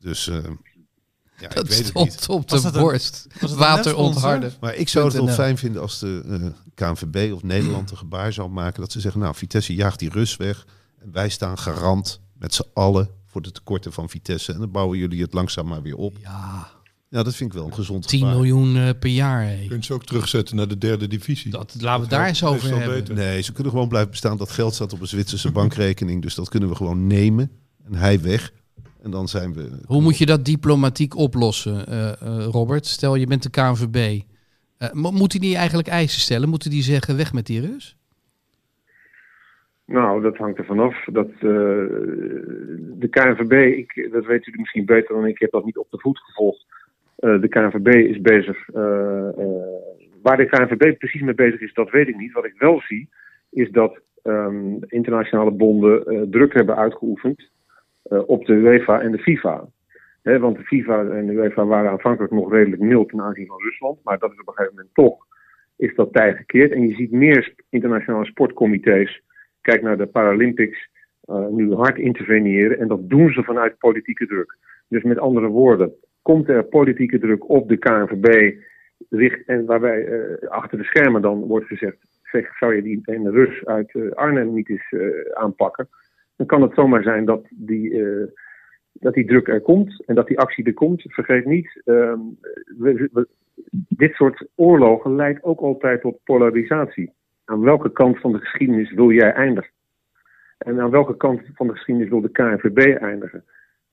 Dus eh, ja, ik dat weet het stond niet. op Was de dat een- borst. was dat een Waterontharder. Maar ik zou het wel .nl. fijn vinden als de eh, KNVB of Nederland een gebaar zou maken. Dat ze zeggen, nou, Vitesse jaagt die Rus weg. En wij staan garant met z'n allen voor de tekorten van Vitesse. En dan bouwen jullie het langzaam maar weer op. Ja, Nou, dat vind ik wel een gezond 10 gebaar. miljoen eh, per jaar. hé. Kun je ze ook terugzetten naar de derde divisie? Dat, laten we het daar eens over Meestal hebben. beter. Nee, ze kunnen gewoon blijven bestaan. Dat geld staat op een Zwitserse bankrekening. Dus dat kunnen we gewoon nemen. En hij weg. En dan zijn we... Hoe moet je dat diplomatiek oplossen, eh, eh, Robert? Stel, je bent de KNVB. Eh, mo- moeten die eigenlijk eisen stellen? Moeten die zeggen, weg met die Rus? Nou, dat hangt er vanaf. Dat, eh, de KNVB, ik, dat weten jullie misschien beter dan ik, ik heb dat niet op de voet gevolgd. Eh, de KNVB is bezig. eh, eh, waar de KNVB precies mee bezig is, dat weet ik niet. Wat ik wel zie, is dat ehm, internationale bonden eh, druk hebben uitgeoefend eh, op de UEFA en de FIFA. Hè, want de FIFA en de UEFA waren aanvankelijk nog redelijk mild ten aanzien van Rusland, maar dat is op een gegeven moment toch is dat tij gekeerd. En je ziet meer sp- internationale sportcomité's kijk naar de Paralympics, eh, nu hard interveneren. En dat doen ze vanuit politieke druk. Dus met andere woorden, komt er politieke druk op de KNVB, richt, en waarbij eh, achter de schermen dan wordt gezegd, zeg, zou je die ene Rus uit eh, Arnhem niet eens eh, aanpakken? Dan kan het zomaar zijn dat die, eh, dat die druk er komt en dat die actie er komt. Vergeet niet, ehm, we- we- dit soort oorlogen leidt ook altijd tot polarisatie aan welke kant van de geschiedenis wil jij eindigen? En aan welke kant van de geschiedenis wil de KNVB eindigen?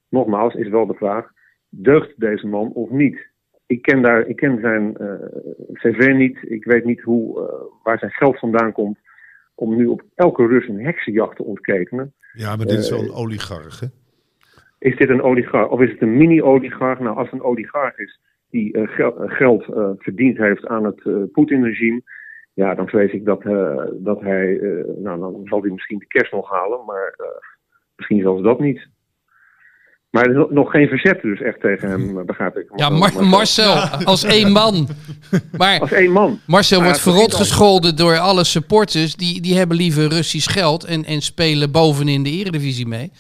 Nogmaals is wel de vraag, deugt deze man of niet? Ik ken, daar, ik ken zijn eh, cv niet, ik weet niet hoe, eh, waar zijn geld vandaan komt... om nu op elke Rus een heksenjacht te ontketenen. Ja, maar dit is zo'n oligarch, hè? Is dit een oligarch of is het een mini-oligarch? Nou, als een oligarch is die eh, gel- eh, geld eh, verdiend heeft aan het eh, Poetin-regime, ja, dan vrees ik dat, eh, dat hij, eh, nou, dan zal hij misschien de kerst nog halen, maar eh, misschien zelfs dat niet. Maar er is nog- nog geen verzet dus echt tegen hem, eh, begrijp ik. Ja, Mar- Marcel, als één man. Als Maar één man. Marcel Maar wordt ja, dat verrot is dan- gescholden door alle supporters. Die, die hebben liever Russisch geld en, en spelen bovenin de eredivisie mee.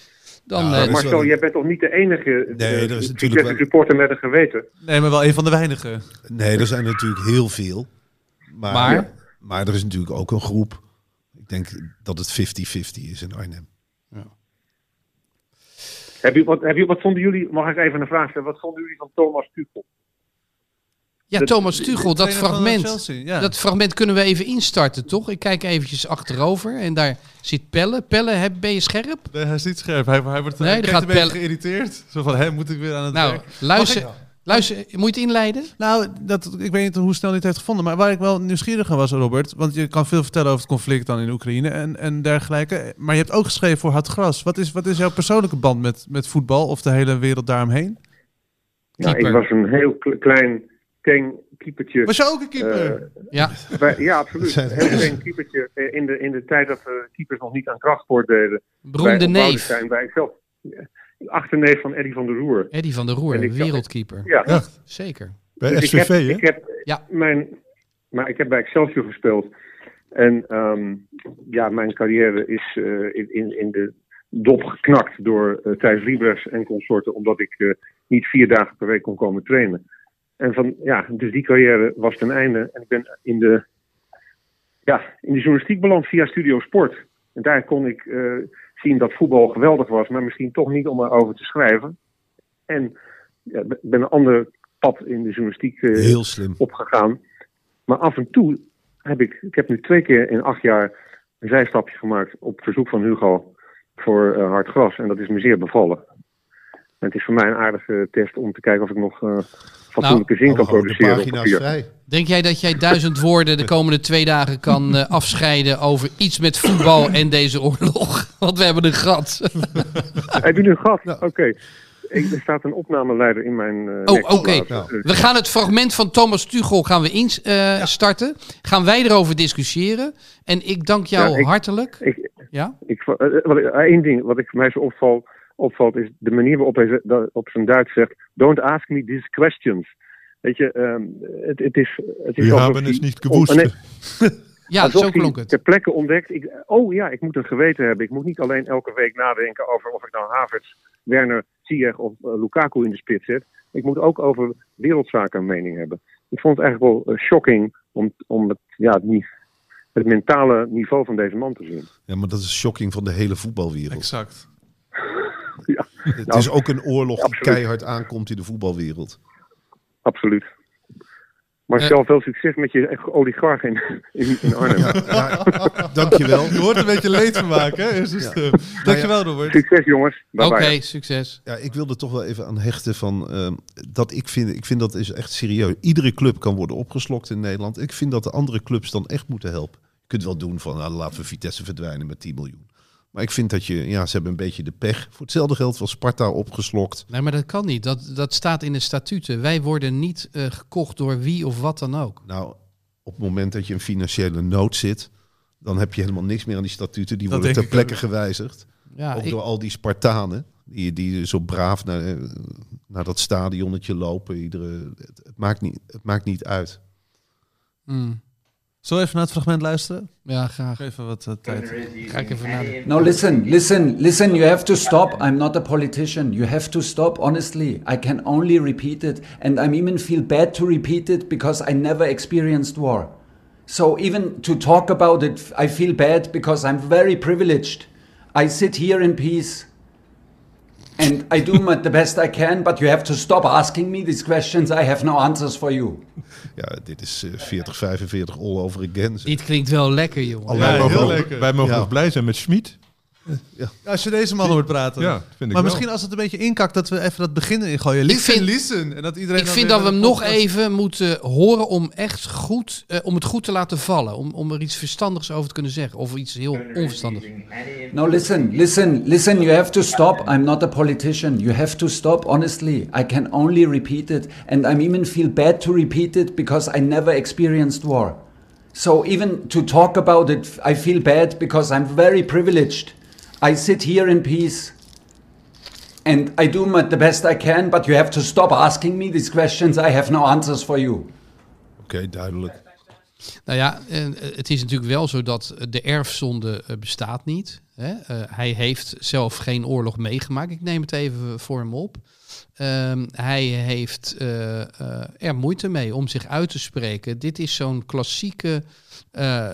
Dan, Ja, eh, dat is Marcel, wel een- jij bent toch niet de enige Nee, eh, dat is natuurlijk Vitesse wel- supporter met een geweten? Nee, maar wel een van de weinigen. Nee, er zijn er natuurlijk heel veel. Maar, Maar? maar? er is natuurlijk ook een groep. Ik denk dat het 50-50 is in Arnhem. Heb je, wat, heb je, wat vonden jullie, mag ik even een vraag stellen, wat vonden jullie van Thomas Tuchel? Ja, Dat- Thomas Tuchel, dat Trainer van, eh, fragment. Chelsea, ja. Dat fragment kunnen we even instarten, toch? Ik kijk eventjes achterover en daar zit Pelle. Pelle, heb, ben je scherp? Nee, hij is niet scherp. Hij, hij wordt Nee, hij er kijkt gaat een beetje bellen. geïrriteerd. Zo van, hè, moet ik weer aan het Nou, werk? luister, luister, moet je het inleiden? Nou, dat, ik weet niet hoe snel hij het heeft gevonden. Maar waar ik wel nieuwsgierig aan was, Robert. Want je kan veel vertellen over het conflict dan in Oekraïne en, en dergelijke. Maar je hebt ook geschreven voor Hard Gras. Wat is, wat is jouw persoonlijke band met, met voetbal of de hele wereld daaromheen? Nou, ik Keeper. was een heel kle- klein, teng keepertje. Was je ook een keeper? Ja, Wij- ja, absoluut. Dat Een zijn- heel klein keepertje. Eh, In de, in de tijd dat we keepers nog niet aan krachtsport deden. beroemde bij Ophouden neef. Zijn, bij ikzelf. Achterneef van Eddy van der Roer. Eddie van der En Roer, ik- wereldkeeper. Ja, Zeker. Bij Dus SVV, ik heb, hè? Ik heb, Ja. mijn, maar ik heb bij Excelsior gespeeld. En ehm, ja, mijn carrière is eh, in, in, in de dop geknakt door eh, Thijs Liebres en consorten. Omdat ik eh, niet vier dagen per week kon komen trainen. En van, ja, dus die carrière was ten einde. En ik ben in de, ja, in de journalistiek beland via Studio Sport. En daar kon ik eh, zien dat voetbal geweldig was. Maar misschien toch niet om erover te schrijven. En ja, ik ben een ander pad in de journalistiek eh, Heel slim. opgegaan. Maar af en toe heb ik, ik heb nu twee keer in acht jaar een zijstapje gemaakt op verzoek van Hugo voor eh, hard gras. En dat is me zeer bevallen. En het is voor mij een aardige test om te kijken of ik nog eh fatsoenlijke zin kan Allemaal gewoon Nou, de produceren. pagina's op papier. vrij. Denk jij dat jij duizend woorden de komende twee dagen kan eh, afscheiden over iets met voetbal en deze oorlog? *laughs* Want we hebben een gat. Ah, Heb je nu een gat? Oké. Ik- Er staat een opnameleider in mijn. eh, Oh, nek oké. geplaatst. Nou. Eh, We gaan het fragment van Thomas Tuchel gaan we instarten. Gaan wij erover discussiëren. En ik dank jou Ja, ik- hartelijk. ik, Ja? Ik, vo- eh, eh, wat, ik- één ding wat ik voor mij zo opval, opvalt is de manier waarop hij ze- dat op zijn Duits zegt: Don't ask me these questions. Weet je, ehm, het, het is. Het is We alsof hebben hij- het niet gewoest. Oh, nee, ja, alsof zo klonk hij het. ter plekke ontdekt: ik, Oh ja, ik moet een geweten hebben. Ik moet niet alleen elke week nadenken over of ik nou Havertz, Werner, Ziyech of eh, Lukaku in de spits zet. Ik moet ook over wereldzaken een mening hebben. Ik vond het eigenlijk wel eh, shocking om, om het, ja, het, ni- het mentale niveau van deze man te zien. Ja, maar dat is shocking van de hele voetbalwereld. Exact. Het Nou, is ook een oorlog die absoluut. keihard aankomt in de voetbalwereld. Absoluut. Marcel, veel succes met je oligarch in, in, in Arnhem. *laughs* Dankjewel. Je hoort een beetje leed van maken, hè? Eerst is het, eh, Dankjewel, Robert. Succes jongens. Bye Oké, bye. succes. Ja, ik wilde toch wel even aan hechten van ehm, dat ik vind, ik vind dat is echt serieus. Iedere club kan worden opgeslokt in Nederland. Ik vind dat de andere clubs dan echt moeten helpen. Je kunt wel doen van nou, laten we Vitesse verdwijnen met 10 miljoen. Maar ik vind dat je, ja, ze hebben een beetje de pech. Voor hetzelfde geld was Sparta opgeslokt. Nee, maar dat kan niet. Dat, dat staat in de statuten. Wij worden niet eh, gekocht door wie of wat dan ook. Nou, op het moment dat je in financiële nood zit, dan heb je helemaal niks meer aan die statuten. Die Dat worden ter denk ik plekke gewijzigd. Ja, ook ik- door al die Spartanen, die, die zo braaf naar, eh, naar dat stadionnetje lopen. Iedere, het, het maakt niet, het maakt niet uit. mm, Zullen we even naar het fragment luisteren? ja graag. Even wat eh, tijd. Ga ik even naar de- No, listen, listen, listen, you have to stop. I'm not a politician. You have to stop, honestly. I can only repeat it. And I am even feel bad to repeat it because I never experienced war. So even to talk about it, I feel bad because I'm very privileged. I sit here in peace. And I do my, the best I can, but you have to stop asking me these questions. I have no answers for you. Ja, dit is eh, 40, 45 all over again. Dit klinkt wel lekker, jongen. Alle- Wij Ja, mogen heel ook- lekker. Wij mogen Ja. ook blij zijn met Schmid. Als je deze man hoort praten. Ja, vind ik maar wel. misschien als het een beetje inkakt, dat we even dat begin erin gooien. Listen, vind- listen. En dat iedereen Ik dan vind weer dat we naar hem de nog podcast- even moeten eh, horen om echt goed, eh, om het goed te laten vallen. Om, om er iets verstandigs over te kunnen zeggen. Of iets heel onverstandigs. No, listen, listen, listen, you have to stop. I'm not a politician. You have to stop, honestly. I can only repeat it. And I am even feel bad to repeat it because I never experienced war. So even to talk about it, I feel bad because I'm very privileged. I sit here in peace and I do my, the best I can, but you have to stop asking me these questions. I have no answers for you. Oké, duidelijk. Nou ja, en, eh, het is natuurlijk wel zo dat eh, de erfzonde eh, bestaat niet. Hè? Eh, hij heeft zelf geen oorlog meegemaakt. Ik neem het even eh, voor hem op. Ehm, hij heeft eh, eh, er moeite mee om zich uit te spreken. Dit is zo'n klassieke eh,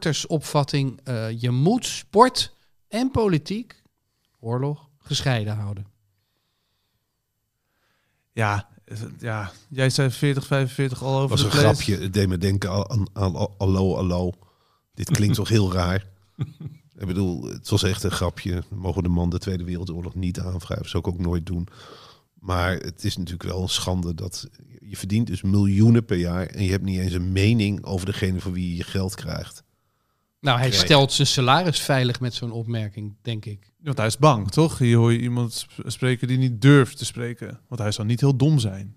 sportersopvatting. Eh, je moet sport en politiek, oorlog, gescheiden houden. Ja, Is het- Ja, jij zei 40, 45 al over was de een place. grapje. Het deed me denken aan- aan aan- Allo, Allo. Dit klinkt toch *laughs* heel raar? Ik bedoel, het was echt een grapje. We Mogen de man de Tweede Wereldoorlog niet aanwrijven. Zou ik ook nooit doen. Maar het is natuurlijk wel een schande dat... Je verdient dus miljoenen per jaar... en je hebt niet eens een mening over degene van wie je je geld krijgt. Nou, hij Oké. stelt zijn salaris veilig met zo'n opmerking, denk ik. Want hij is bang, toch? Hier hoor je iemand sp- spreken die niet durft te spreken. Want hij zou niet heel dom zijn.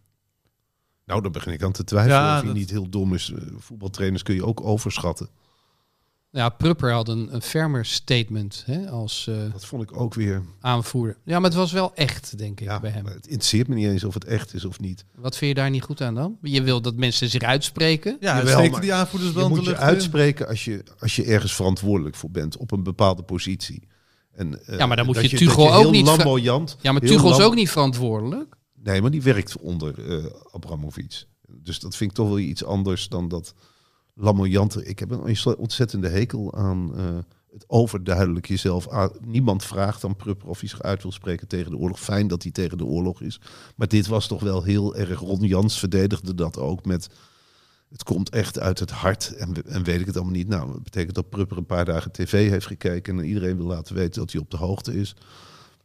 Nou, daar begin ik aan te twijfelen Ja, of hij dat- niet heel dom is. Eh, Voetbaltrainers kun je ook overschatten. Nou Ja, Prupper had een, een firmer statement hè, als eh, Dat vond ik ook weer... aanvoerder. Ja, maar het was wel echt, denk ik, Ja, bij hem. maar het interesseert me niet eens of het echt is of niet. Wat vind je daar niet goed aan dan? Je wil dat mensen zich uitspreken. Ja, hij Jawel, steekt maar die aanvoerders wel Je in de moet je lucht in. uitspreken als je, als je ergens verantwoordelijk voor bent op een bepaalde positie. En, eh, Ja, maar dan moet dat je Tuchel dat je ook heel niet ver- Lamboyant, Ja, maar heel Tuchel is lam- ook niet verantwoordelijk. Nee, maar die werkt onder eh Abramovic. Dus dat vind ik toch wel iets anders dan dat lamoyante. Ik heb een ontzettende hekel aan eh, het overduidelijk jezelf. aan- niemand vraagt aan Prupper of hij zich uit wil spreken tegen de oorlog. Fijn dat hij tegen de oorlog is. Maar dit was toch wel heel erg. Ron Jans verdedigde dat ook met. Het komt echt uit het hart en, we- en weet ik het allemaal niet. Nou, dat betekent dat Prupper een paar dagen tv heeft gekeken en iedereen wil laten weten dat hij op de hoogte is.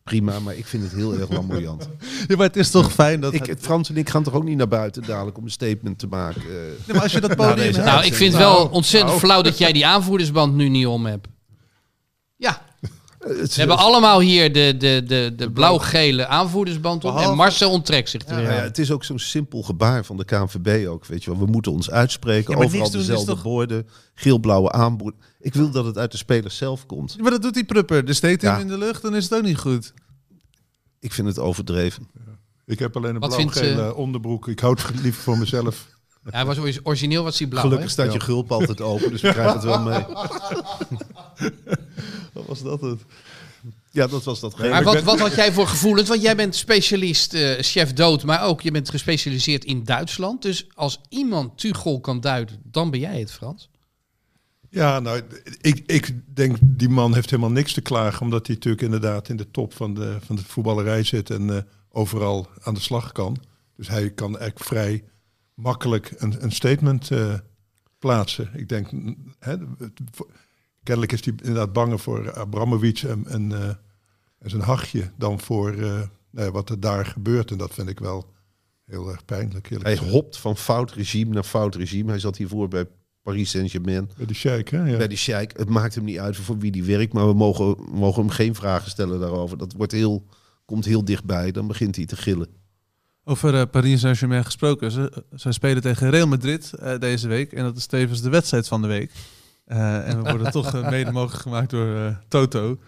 Prima, maar ik vind het heel erg lamoyant. Ja, maar het is toch fijn dat... Ik, Frans en ik gaan toch ook niet naar buiten dadelijk om een statement te maken. eh. Nee, maar als je dat Nou, podium deze hebt... nou, ik vind het wel ontzettend Nou. flauw dat jij die aanvoerdersband nu niet om hebt. Ja, Het is- we hebben allemaal hier de, de, de, de blauw-gele aanvoerdersband op. Behalve- En Marcel onttrekt zich er Nou weer ja, aan. het is ook zo'n simpel gebaar van de KNVB ook. Weet je wel. We moeten ons uitspreken. Ja, maar Overal niks doen is dezelfde toch- borden. Geel-blauwe aanboord. Ik wil dat het uit de spelers zelf komt. Ja, Maar dat doet die prupper. Dus steekt hij Ja. hem in de lucht, dan is het ook niet goed. Ik vind het overdreven. Ik heb alleen een Wat vindt, blauw-gele onderbroek. Ik houd het liever voor mezelf. Ja, hij was oris- origineel wat hij blauw. Gelukkig hè? staat je gulp altijd open, *laughs* dus we krijgen het wel mee. Wat was dat het? Ja, dat was dat. Maar gele. wat, wat had jij voor gevoelens? Want jij bent specialist, eh, chef dood, maar ook je bent gespecialiseerd in Duitsland. Dus als iemand Tuchel kan duiden, dan ben jij het, Frans. Ja, nou, ik, ik denk die man heeft helemaal niks te klagen, omdat hij natuurlijk inderdaad in de top van de, van de voetballerij zit en eh, overal aan de slag kan. Dus hij kan eigenlijk vrij makkelijk een, een statement eh, plaatsen. Ik denk, mm, hè, het- voor- kennelijk is hij inderdaad banger voor Abramovic en, en, eh, en zijn hachje dan voor eh, nou ja, wat er daar gebeurt. En dat vind ik wel heel erg pijnlijk. eerlijk Hij gezegd. hopt van fout regime naar fout regime. Hij zat hiervoor bij Paris Saint-Germain. Bij de sheik, hè? Ja. bij die sheik. Het maakt hem niet uit voor wie die werkt, maar we mogen, we mogen hem geen vragen stellen daarover. Dat wordt heel, komt heel dichtbij, dan begint hij te gillen. Over eh, Paris Saint-Germain gesproken. Ze, ze spelen tegen Real Madrid eh, deze week. En dat is tevens de wedstrijd van de week. Eh, en we worden toch eh, mede mogelijk gemaakt door eh, Toto.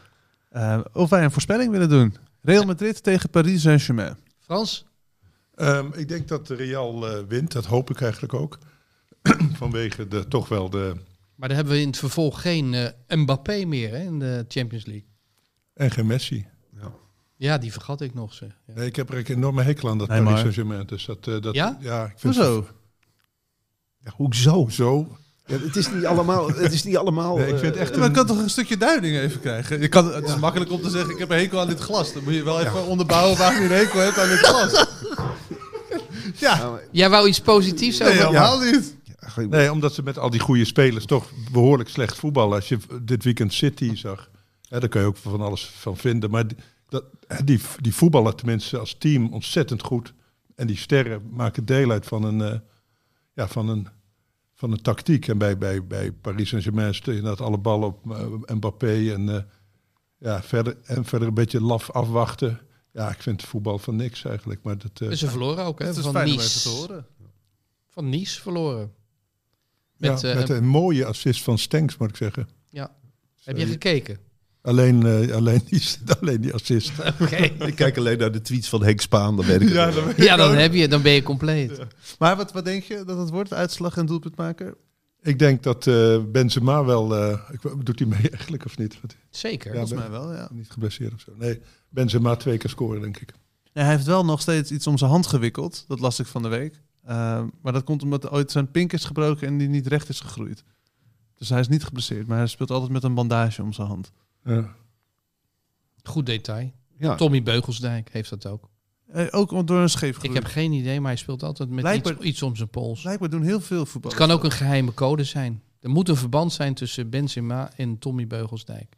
Eh, of wij een voorspelling willen doen. Real Madrid tegen Paris Saint-Germain. Frans? Ehm, ik denk dat de Real eh, wint, dat hoop ik eigenlijk ook. *clears throat* Vanwege de, toch wel de. Maar dan hebben we in het vervolg geen eh, Mbappé meer hè, in de Champions League. En geen Messi. Ja, die vergat ik nog. Zeg. Ja. Nee, ik heb er een enorme hekel aan dat Nee, maar- Paris Saint-Germain. Dus dat, eh, dat, Ja? ik vind Hoezo? Ja, hoezo? Zo. Ja, het is niet allemaal. Het is niet allemaal Nee, ik vind het eh, echt Ja, maar ik kan toch een stukje duiding even krijgen? Je kan, het is makkelijk om te zeggen, ik heb een hekel aan dit glas. Dan moet je wel even onderbouwen waarom je een hekel hebt aan dit *laughs* glas. Jij wou iets positiefs Nee, over... helemaal niet. ja, ik- Nee, omdat ze met al die goede spelers toch behoorlijk slecht voetballen. Als je v- dit weekend City zag, hè, daar kun je ook van alles van vinden. Maar die, dat, hè, die, die voetballen tenminste als team ontzettend goed. En die sterren maken deel uit van een, eh, ja, van een, van een tactiek. En bij, bij, bij Paris Saint-Germain stel je inderdaad alle ballen op eh, Mbappé. En, eh, ja, verder, en verder een beetje laf afwachten. Ja, ik vind voetbal van niks eigenlijk. Maar dat, eh, En ze verloren ook, hè? Het is Van fijn om even te Nice. horen. Van Nice verloren. ja, Met, eh, met een mooie assist van Stenks, moet ik zeggen. Heb je gekeken? Alleen, eh, alleen, die, *laughs* alleen die assist. ik kijk alleen naar de tweets van Henk Spaan, dan weet ik het. wel. *laughs* Ja, dan, heb je, dan ben je compleet. Maar wat, wat denk je dat het wordt? Uitslag en doelpuntmaker? Ik denk dat eh, Benzema wel... eh, ik, doet hij mee *laughs* eigenlijk of niet? Want Zeker. Ja. Volgens mij wel, ja. hij is niet geblesseerd of zo. Nee, Benzema twee keer scoren, denk ik. Ja, hij heeft wel nog steeds iets om zijn hand gewikkeld. Dat las ik van de week. Ehm, maar dat komt omdat ooit zijn pink is gebroken en die niet recht is gegroeid. Dus hij is niet geblesseerd, maar hij speelt altijd met een bandage om zijn hand. Ja. Goed detail. Ja. Tommy Beugelsdijk heeft dat ook. Eh, ook door een scheef Ik gegroeid. heb geen idee, maar hij speelt altijd met Blijkbaar- iets, iets om zijn pols. Blijkbaar doen heel veel voetballers. Het kan ook een geheime code zijn. Er moet een verband zijn tussen Benzema en Tommy Beugelsdijk.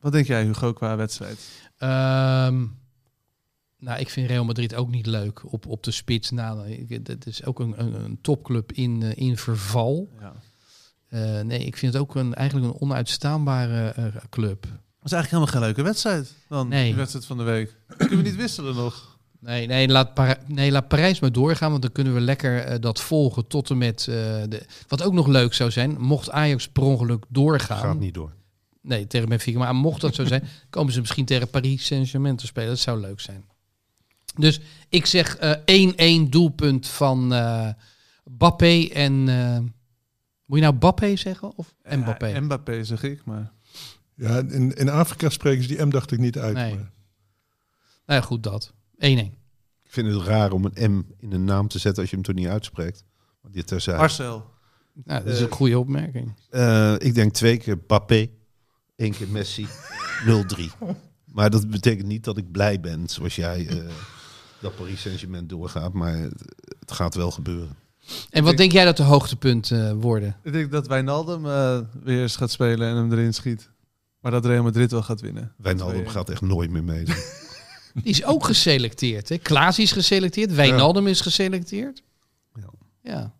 Wat denk jij, Hugo, qua wedstrijd? Ehm, nou, ik vind Real Madrid ook niet leuk op, op de spits. Nou, ik- dat is ook een, een, een topclub in, eh, in verval. Ja. Eh, nee, ik vind het ook een, eigenlijk een onuitstaanbare eh, club. Dat is eigenlijk helemaal geen leuke wedstrijd. Dan Nee. die wedstrijd van de week. *clears throat* Kunnen we niet wisselen nog? Nee, nee, laat Para- nee, laat Parijs maar doorgaan, want dan kunnen we lekker eh, dat volgen tot en met... eh, de... Wat ook nog leuk zou zijn, mocht Ajax per ongeluk doorgaan... Gaat niet door. Nee, tegen Benfica, maar mocht dat zo zijn, *laughs* komen ze misschien tegen Paris Saint-Germain te spelen. Dat zou leuk zijn. Dus ik zeg eh, 1-1 doelpunt van eh Bappé en... eh, moet je nou Bappé zeggen of *clears throat* Mbappé? Ja, Mbappé zeg ik, maar... Ja, in, in Afrika spreken ze die M dacht ik niet uit. Nee. maar- Nou ja, goed, dat. 1-1. Ik vind het raar om een M in een naam te zetten als je hem toch niet uitspreekt. Maar dit terzijde. Marcel. Nou, dat is een goede opmerking. Eh, ik denk twee keer Papé, één keer Messi, *laughs* 0-3. Maar dat betekent niet dat ik blij ben, zoals jij, eh, dat Paris Saint-Germain doorgaat. Maar het, het gaat wel gebeuren. En wat denk jij dat de hoogtepunten eh, worden? Ik denk dat Wijnaldum eh, weer eens gaat spelen en hem erin schiet. Maar dat Real Madrid wel gaat winnen. Wijnaldum gaat echt nooit meer meedoen. Die is ook geselecteerd. Hè? Klaas is geselecteerd. Wijnaldum is geselecteerd. Ja. Ja.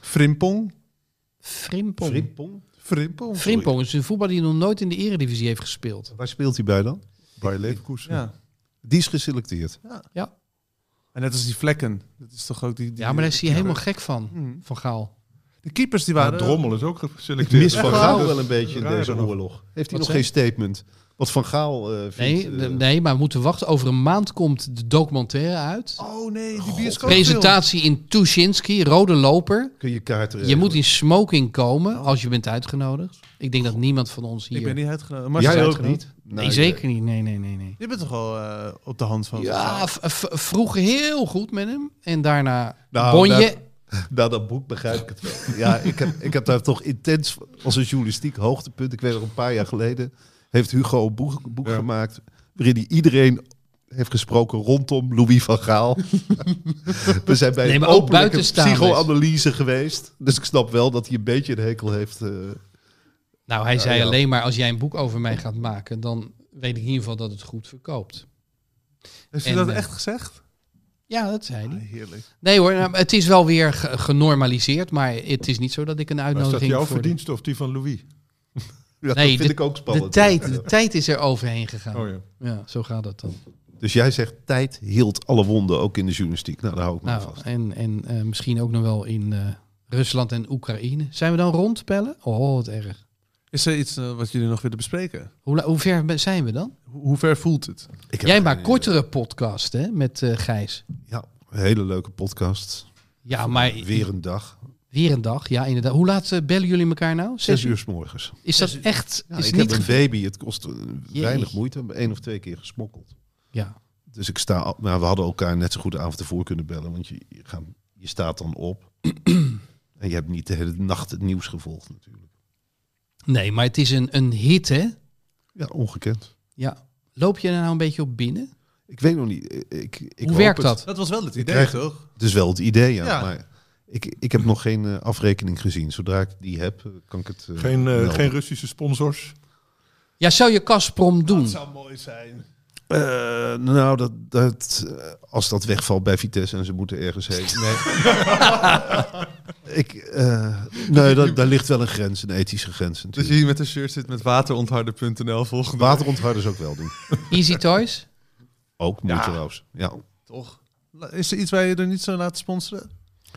Frimpong. Frimpong. Frimpong. Frimpong? Frimpong. is een voetballer die nog nooit in de eredivisie heeft gespeeld. Waar speelt hij bij dan? Bij Leverkusen. Ja. Die is geselecteerd. En net als die vlekken. Dat is toch ook die... die- Ja, maar daar is hij helemaal gek van, Hm. van Gaal. De keepers die Ja, waren... Drommel is ook Ik geselecteerd. mis Van Ja, Gaal dat wel een beetje in raar deze nog. oorlog. Heeft hij Wat nog zeg geen statement? Wat Van Gaal eh, vindt... Nee, eh, de- nee, maar we moeten wachten. Over een maand komt de documentaire uit. Oh nee, die bioscoopfilm. Presentatie in Tuschinski, rode loper. kun je kaarten eh, Je moet regelen. in smoking komen als je bent uitgenodigd. Ik denk dat niemand van ons hier... Ik ben niet uitgenodigd. Jij Marcel, ook niet? Nee, zeker niet. Nee, nee, nee, nee. je bent toch wel eh, op de hand van... Ja, v- v- vroeg heel goed met hem. En daarna Nou, Bonje. Na dat boek begrijp ik het wel. Ja, ik heb, ik heb daar toch intens als een journalistiek hoogtepunt. Ik weet nog een paar jaar geleden heeft Hugo een boek, boek Ja. gemaakt waarin hij iedereen heeft gesproken rondom Louis van Gaal. We zijn bij Nee, een maar ook openlijke buitenstaanders. psychoanalyse geweest. Dus ik snap wel dat hij een beetje een hekel heeft. eh. Nou, hij zei ja. alleen maar als jij een boek over mij gaat maken, dan weet ik in ieder geval dat het goed verkoopt. Heeft En, hij dat eh, echt gezegd? Ah, Ja, dat zei hij. heerlijk. Nee hoor, nou, het is wel weer ge- genormaliseerd, maar het is niet zo dat ik een Maar is dat uitnodiging jouw voor de- verdienste of die van Louis? Ja, Nee, dat vind ik ook de, spannend. tijd, de tijd is er overheen gegaan. Oh ja. ja, zo gaat dat dan. Dus jij zegt tijd hield alle wonden, ook in de journalistiek. Nou, daar hou ik me aan Nou, vast. en, en eh, misschien ook nog wel in eh, Rusland en Oekraïne. Zijn we dan rondpellen? Oh, wat erg. Is er iets eh, wat jullie nog willen bespreken? Hoe, la- hoe ver be- zijn we dan? Ho- Hoe ver voelt het? Ik heb Jij geen maakt idee. kortere podcast hè, met eh, Gijs. Ja, een hele leuke podcast. Ja, maar Weer een dag. Weer een dag, ja inderdaad. Hoe laat eh, bellen jullie elkaar nou? Zes, Zes uur? uur s morgens. Is dat echt? Ja, is ik niet heb een ge- baby. Het kost eh, weinig Jee. moeite. Eén of twee keer gesmokkeld. Ja. Dus ik sta. al- Nou, we hadden elkaar net zo goed de avond ervoor kunnen bellen. Want je, je, gaat, je staat dan op. *clears throat* en je hebt niet de hele nacht het nieuws gevolgd, natuurlijk. Nee, maar het is een, een hit, hè? Ja, ongekend. Ja. Loop je er nou een beetje op binnen? Ik weet nog niet. eh, Ik, ik Hoe hoop werkt het. dat? Dat was wel het idee, krijg- toch? Het is wel het idee, ja. Ja. Maar ik, ik heb nog geen eh, afrekening gezien. Zodra ik die heb, eh, kan ik het. eh, Geen, Nou. eh, melden. geen Russische sponsors. Ja, zou je Kasprom doen? mooi zijn. Eh, nou, dat, dat, eh, als dat wegvalt bij Vitesse en ze moeten ergens heen. *laughs* Nee. ik, eh, nee, dat, daar ligt wel een grens, een ethische grens Dus natuurlijk. je hier met een shirt zit met waterontharder.nl volgende week. Waterontharders ook wel doen. Easy Toys? Ook moeite Ja. trouwens. Ja. Toch? La- Is er iets waar je er niet zo laat sponsoren?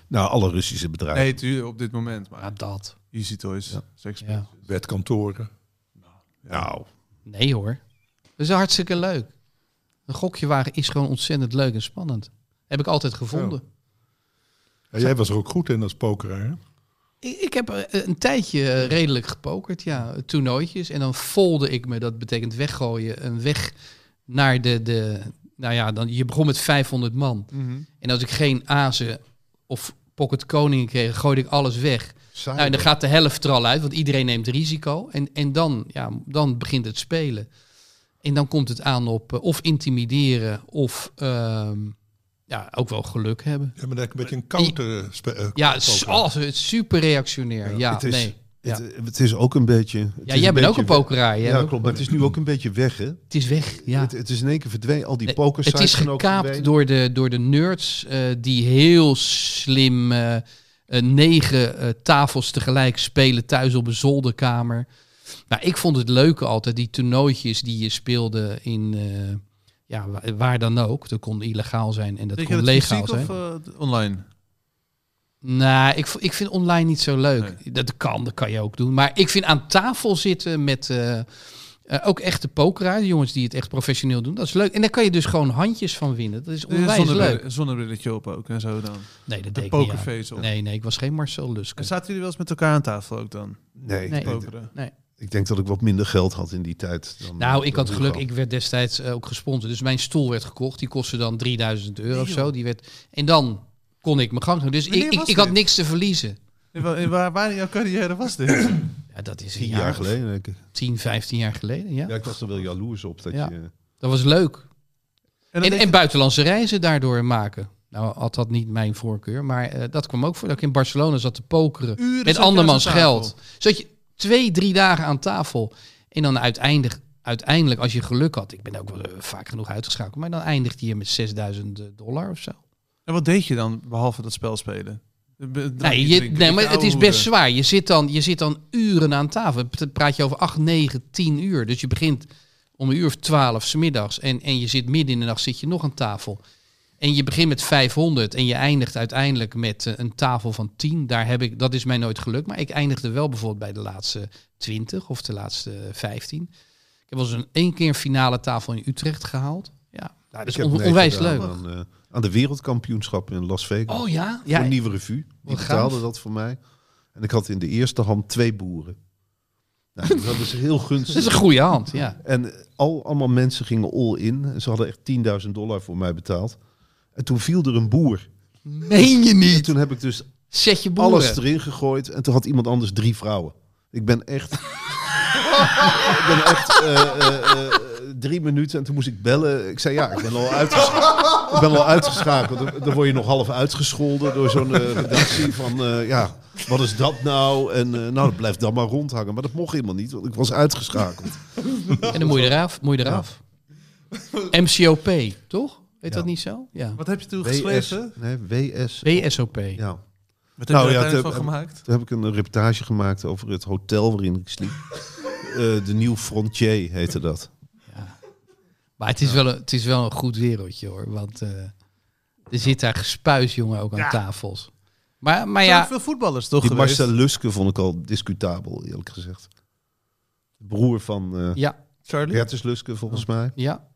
Nou, alle Russische bedrijven. Nee, tuurlijk, op dit moment. Maar Ja, dat. Easy Toys, Ja. Sexy. Ja. Wetkantoren. Nou, Nee hoor. Dat is hartstikke leuk. Een gokje wagen is gewoon ontzettend leuk en spannend. Heb ik altijd gevonden. Ja, jij was er ook goed in als pokeraar. hè? Ik, ik heb eh, een tijdje eh, redelijk gepokerd, ja. Toernooitjes. En dan folde ik me, dat betekent weggooien. Een weg naar de... de nou ja, dan, je begon met 500 man. Mhm. En als ik geen azen of pocket koningen kreeg, gooide ik alles weg. saai. Nou, en dan gaat de helft er al uit, want iedereen neemt risico. En, en dan, ja, dan begint het spelen. En dan komt het aan op eh, of intimideren of ehm, ja, ook wel geluk hebben. Ja, maar dat is een beetje een counter... spe- eh, Ja, koper. s- oh, het is super reactionair. Ja, het is, nee. Het, het is ook een beetje... het is Ja, een jij bent ook beetje een pokeraar. Jij Ja, ook- klopt. Maar het is nu ook een beetje weg, hè? Het is weg. Ja. Het, het is in één keer verdwenen. Al die Nee, pokers Eh, het is gekaapt door de, door de nerds eh, die heel slim eh, eh, negen eh, tafels tegelijk spelen thuis op een zolderkamer. Nou, ik vond het leuke altijd, die toernooitjes die je speelde in eh, ja, wa- waar dan ook. Dat kon illegaal zijn en dat Denk je kon dat legaal fysiek zijn. of eh, online? Nou, ik, vo- ik vind online niet zo leuk. Nee. Dat kan, dat kan je ook doen. Maar ik vind aan tafel zitten met eh, eh, ook echte pokeraars, jongens die het echt professioneel doen, dat is leuk. En daar kan je dus gewoon handjes van winnen. Dat is Een onwijs leuk. zonnebril- zonnebrilletje op ook en zo dan. Nee, dat deed De ik niet. aan. pokerface op. Nee, nee, ik was geen Marcel Luske. En zaten jullie wel eens met elkaar aan tafel ook dan? Nee, Nee. ik- Pokeren. ik denk dat ik wat minder geld had in die tijd. Dan, Nou, ik dan had nu geluk. gehad. Ik werd destijds eh, ook gesponsord. Dus mijn stoel werd gekocht. Die kostte dan 3000 euro of Nee, zo. joh. Die werd... En dan kon ik mijn gang doen. Dus Wanneer ik, ik, was ik had dit? niks te verliezen. In wa- in waar, waar in jouw carrière was *clears throat* dit? Ja, dat is Tien jaar geleden. denk ik. 10, 15 jaar geleden, ja. Ja, ik was er wel jaloers op. Dat Ja. Nou, je, Dat was leuk. En, En, dan en denk buitenlandse reizen daardoor maken. Nou had dat niet mijn voorkeur. Maar eh, dat kwam ook voor dat ik in Barcelona zat te pokeren. je, uren zat met je aan andermans zo'n tafel. geld. Zodat je twee, drie dagen aan tafel. En dan uiteindelijk, uiteindelijk als je geluk had. Ik ben ook wel eh, vaak genoeg uitgeschakeld. Maar dan eindigt je met 6000 dollar of zo. En wat deed je dan, behalve dat spel spelen? Be- drankje Nee, je, drinken, nee, met maar de het is oude best zwaar. Je zit, dan, je zit dan uren aan tafel. Dan praat je over 8, 9, 10 uur. Dus je begint om een uur of 12 's middags. En, en je zit midden in de nacht zit je nog aan tafel. En je begint met 500 en je eindigt uiteindelijk met eh, een tafel van 10. Daar heb ik, dat is mij nooit gelukt. Maar ik eindigde wel bijvoorbeeld bij de laatste 20 of de laatste 15. Ik heb wel eens een één keer een finale tafel in Utrecht gehaald. Ja, dat is ik heb on- meegedaan onwijs leuk. Aan, eh, aan de wereldkampioenschap in Las Vegas. Oh ja? Voor ja een nieuwe revue. Die Wat gaaf. betaalde dat voor mij. En ik had in de eerste hand twee boeren. Nou, dat is heel *laughs* dat gunstig. is een goede hand, ja. En al, allemaal mensen gingen all in. En Ze hadden echt 10.000 dollar voor mij betaald. En toen viel er een boer. Meen je En niet? toen heb ik dus Zet je boeren. alles erin gegooid. En toen had iemand anders drie vrouwen. Ik ben echt... *laughs* ik ben echt eh, eh, eh, drie minuten. En toen moest ik bellen. Ik zei ja, ik ben al uitgeschakeld. ik ben al uitgeschakeld. Dan- Dan word je nog half uitgescholden door zo'n eh, redactie van... eh, ja, wat is dat nou? En eh, nou, dat blijft dan maar rondhangen. Maar dat mocht helemaal niet, want ik was uitgeschakeld. En dan moet je eraf. Moet je eraf. MCOP, toch? Heet Ja. dat niet zo? Ja. Wat heb je toen geschreven? WS, nee, WS. WSOP. Ja. Wat heb Nou, je ja, er uiteindelijk het- van gemaakt? Toen heb ik een reportage gemaakt over het hotel waarin ik sliep. Eh, de Nieuw Frontier heette dat. Maar het is, wel een, het is wel een goed wereldje hoor. Want eh, er zit daar gespuis, jongen, ook aan tafels. Maar, maar Er zijn ook ja, veel voetballers toch Die geweest? Marcel Luske vond ik al discutabel, eerlijk gezegd. De broer van eh ja, Charlie? Bertus Luske, volgens mij. ja.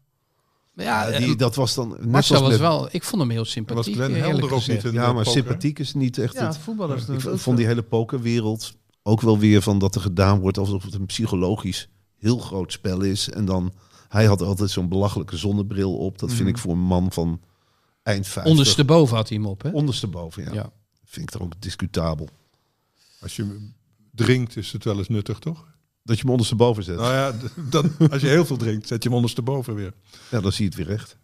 Maar ja, Ja, eh, die, dat was dan... net Marcel als was met- wel... Ik vond hem heel En was sympathiek, Glenn eerlijk Helder ook gezegd. niet een Ja, eh, maar poker? sympathiek is niet echt... Ja, het- voetballers. doen ik het ook vond die zo. hele pokerwereld ook wel weer van dat er gedaan wordt alsof het een psychologisch heel groot spel is. En dan... Hij had altijd zo'n belachelijke zonnebril op. Dat vind ik voor een man van eind 50. Ondersteboven had hij hem op, hè? Ondersteboven, ja. Ja. Vind ik er ook discutabel. Als je drinkt is het wel eens nuttig, toch? Dat je hem ondersteboven zet. Nou ja, d- dat, als je heel veel drinkt, zet je hem ondersteboven weer. Ja, dan zie je het weer recht.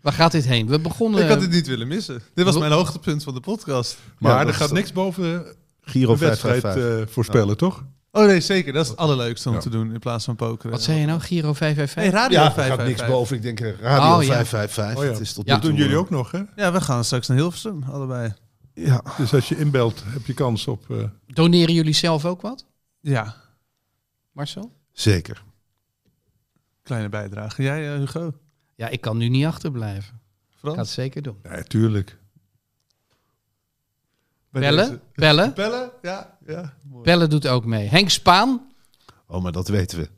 Waar gaat dit heen? We begonnen... Ik had dit niet willen missen. Dit was Ro- mijn hoogtepunt van de podcast. Maar dat er is gaat dat. niks boven Giro de wedstrijd 555. eh, voorspellen, toch? Oh nee, zeker. Dat is het allerleukste om Ja. te doen in plaats van pokeren. Wat zei je nou? Giro Nee, Ah, 555? Radio ja, er 555. gaat niks boven. Ik denk eh, Radio Oh, ja. 555. Oh, ja. Het is tot Ja. nu Dat toe, doen jullie eh, ook nog, hè? Ja, we gaan straks naar Hilversum, allebei. Ja. Dus als je inbelt, heb je kans op... eh, Doneren jullie zelf ook wat, Ja, Marcel? Zeker. kleine bijdrage. Jij, eh, Hugo? Ja, ik kan nu niet achterblijven. Ik Frans? ga het zeker doen. ja, tuurlijk. Bij Bellen, deze. bellen. Bellen? Ja, ja. Mooi. Bellen doet ook mee. Henk Spaan. Oh, maar dat weten we.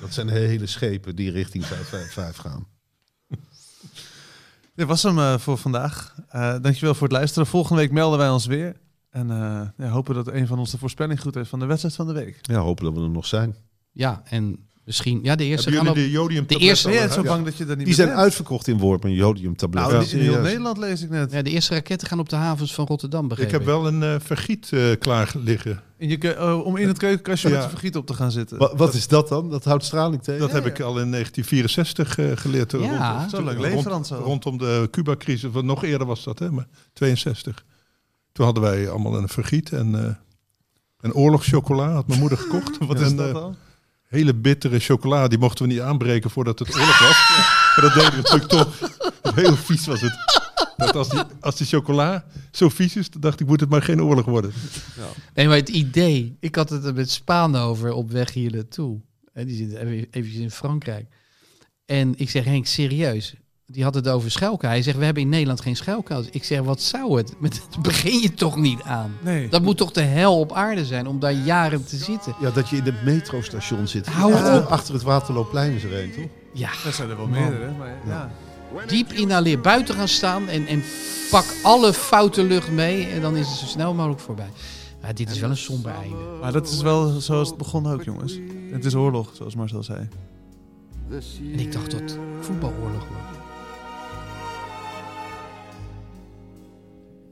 Dat zijn hele schepen die richting 555 gaan. Dit was hem eh, voor vandaag. Eh, dankjewel voor het luisteren. Volgende week melden wij ons weer. En eh, ja, hopen dat een van onze voorspelling goed is van de wedstrijd van de week. Ja, hopen dat we er nog zijn. Ja, en Misschien, ja, de eerste. Hebben jullie gaan op- de jodium de eerste- Ben jij zo Ja. bang dat je dat niet Die meer zijn bent? uitverkocht in Worp met jodiumtabletten. Nou, Ja, die- in heel serieus. Nederland lees ik net. ja, de eerste raketten gaan op de havens van Rotterdam, begreep Ik ik. heb wel een eh, vergiet eh, klaar liggen. In je keu- eh, om in het keukenkastje met Ja. de vergiet op te gaan zitten. Wa- Wat is dat dan? Dat houdt straling tegen? Dat heb ik al in 1964 eh, geleerd. eh, Ja. rond- Zo lang rond- leven, Frans, al. Rondom de Cuba-crisis. Want nog eerder was dat, hè? Maar 62. Toen hadden wij allemaal een vergiet en eh, een oorlogschocola. Had mijn moeder *laughs* gekocht. Wat En, is eh, dat dan? hele bittere chocola. Die mochten we niet aanbreken voordat het oorlog was. Maar dat deden we natuurlijk toch. Heel vies was het. Dat als, die, als die chocola zo vies is, dan dacht ik, moet het maar geen oorlog worden. Nee, maar het idee. Ik had het er met Spaan over op weg hier naartoe. En die zit even eventjes in Frankrijk. En ik zeg, Henk, serieus. Die had het over schuilkuil. Hij zegt, we hebben in Nederland geen schuilkuil. Ik zeg, wat zou het? *laughs* Met dat begin je toch niet aan? Nee. Dat moet toch de hel op aarde zijn om daar jaren te zitten? Ja, dat je in het metrostation zit. Hou Achter- op. Achter het Waterloopplein is er een, toch? Ja, Dat zijn er wel meerdere. Maar, Oh. ja. diep inhaleer, buiten gaan staan en, en pak alle foute lucht mee. En dan is het zo snel mogelijk voorbij. Maar dit is wel een somber einde. maar dat is wel zoals het begon ook, jongens. Het is oorlog, zoals Marcel zei. En ik dacht dat het voetbaloorlog wordt.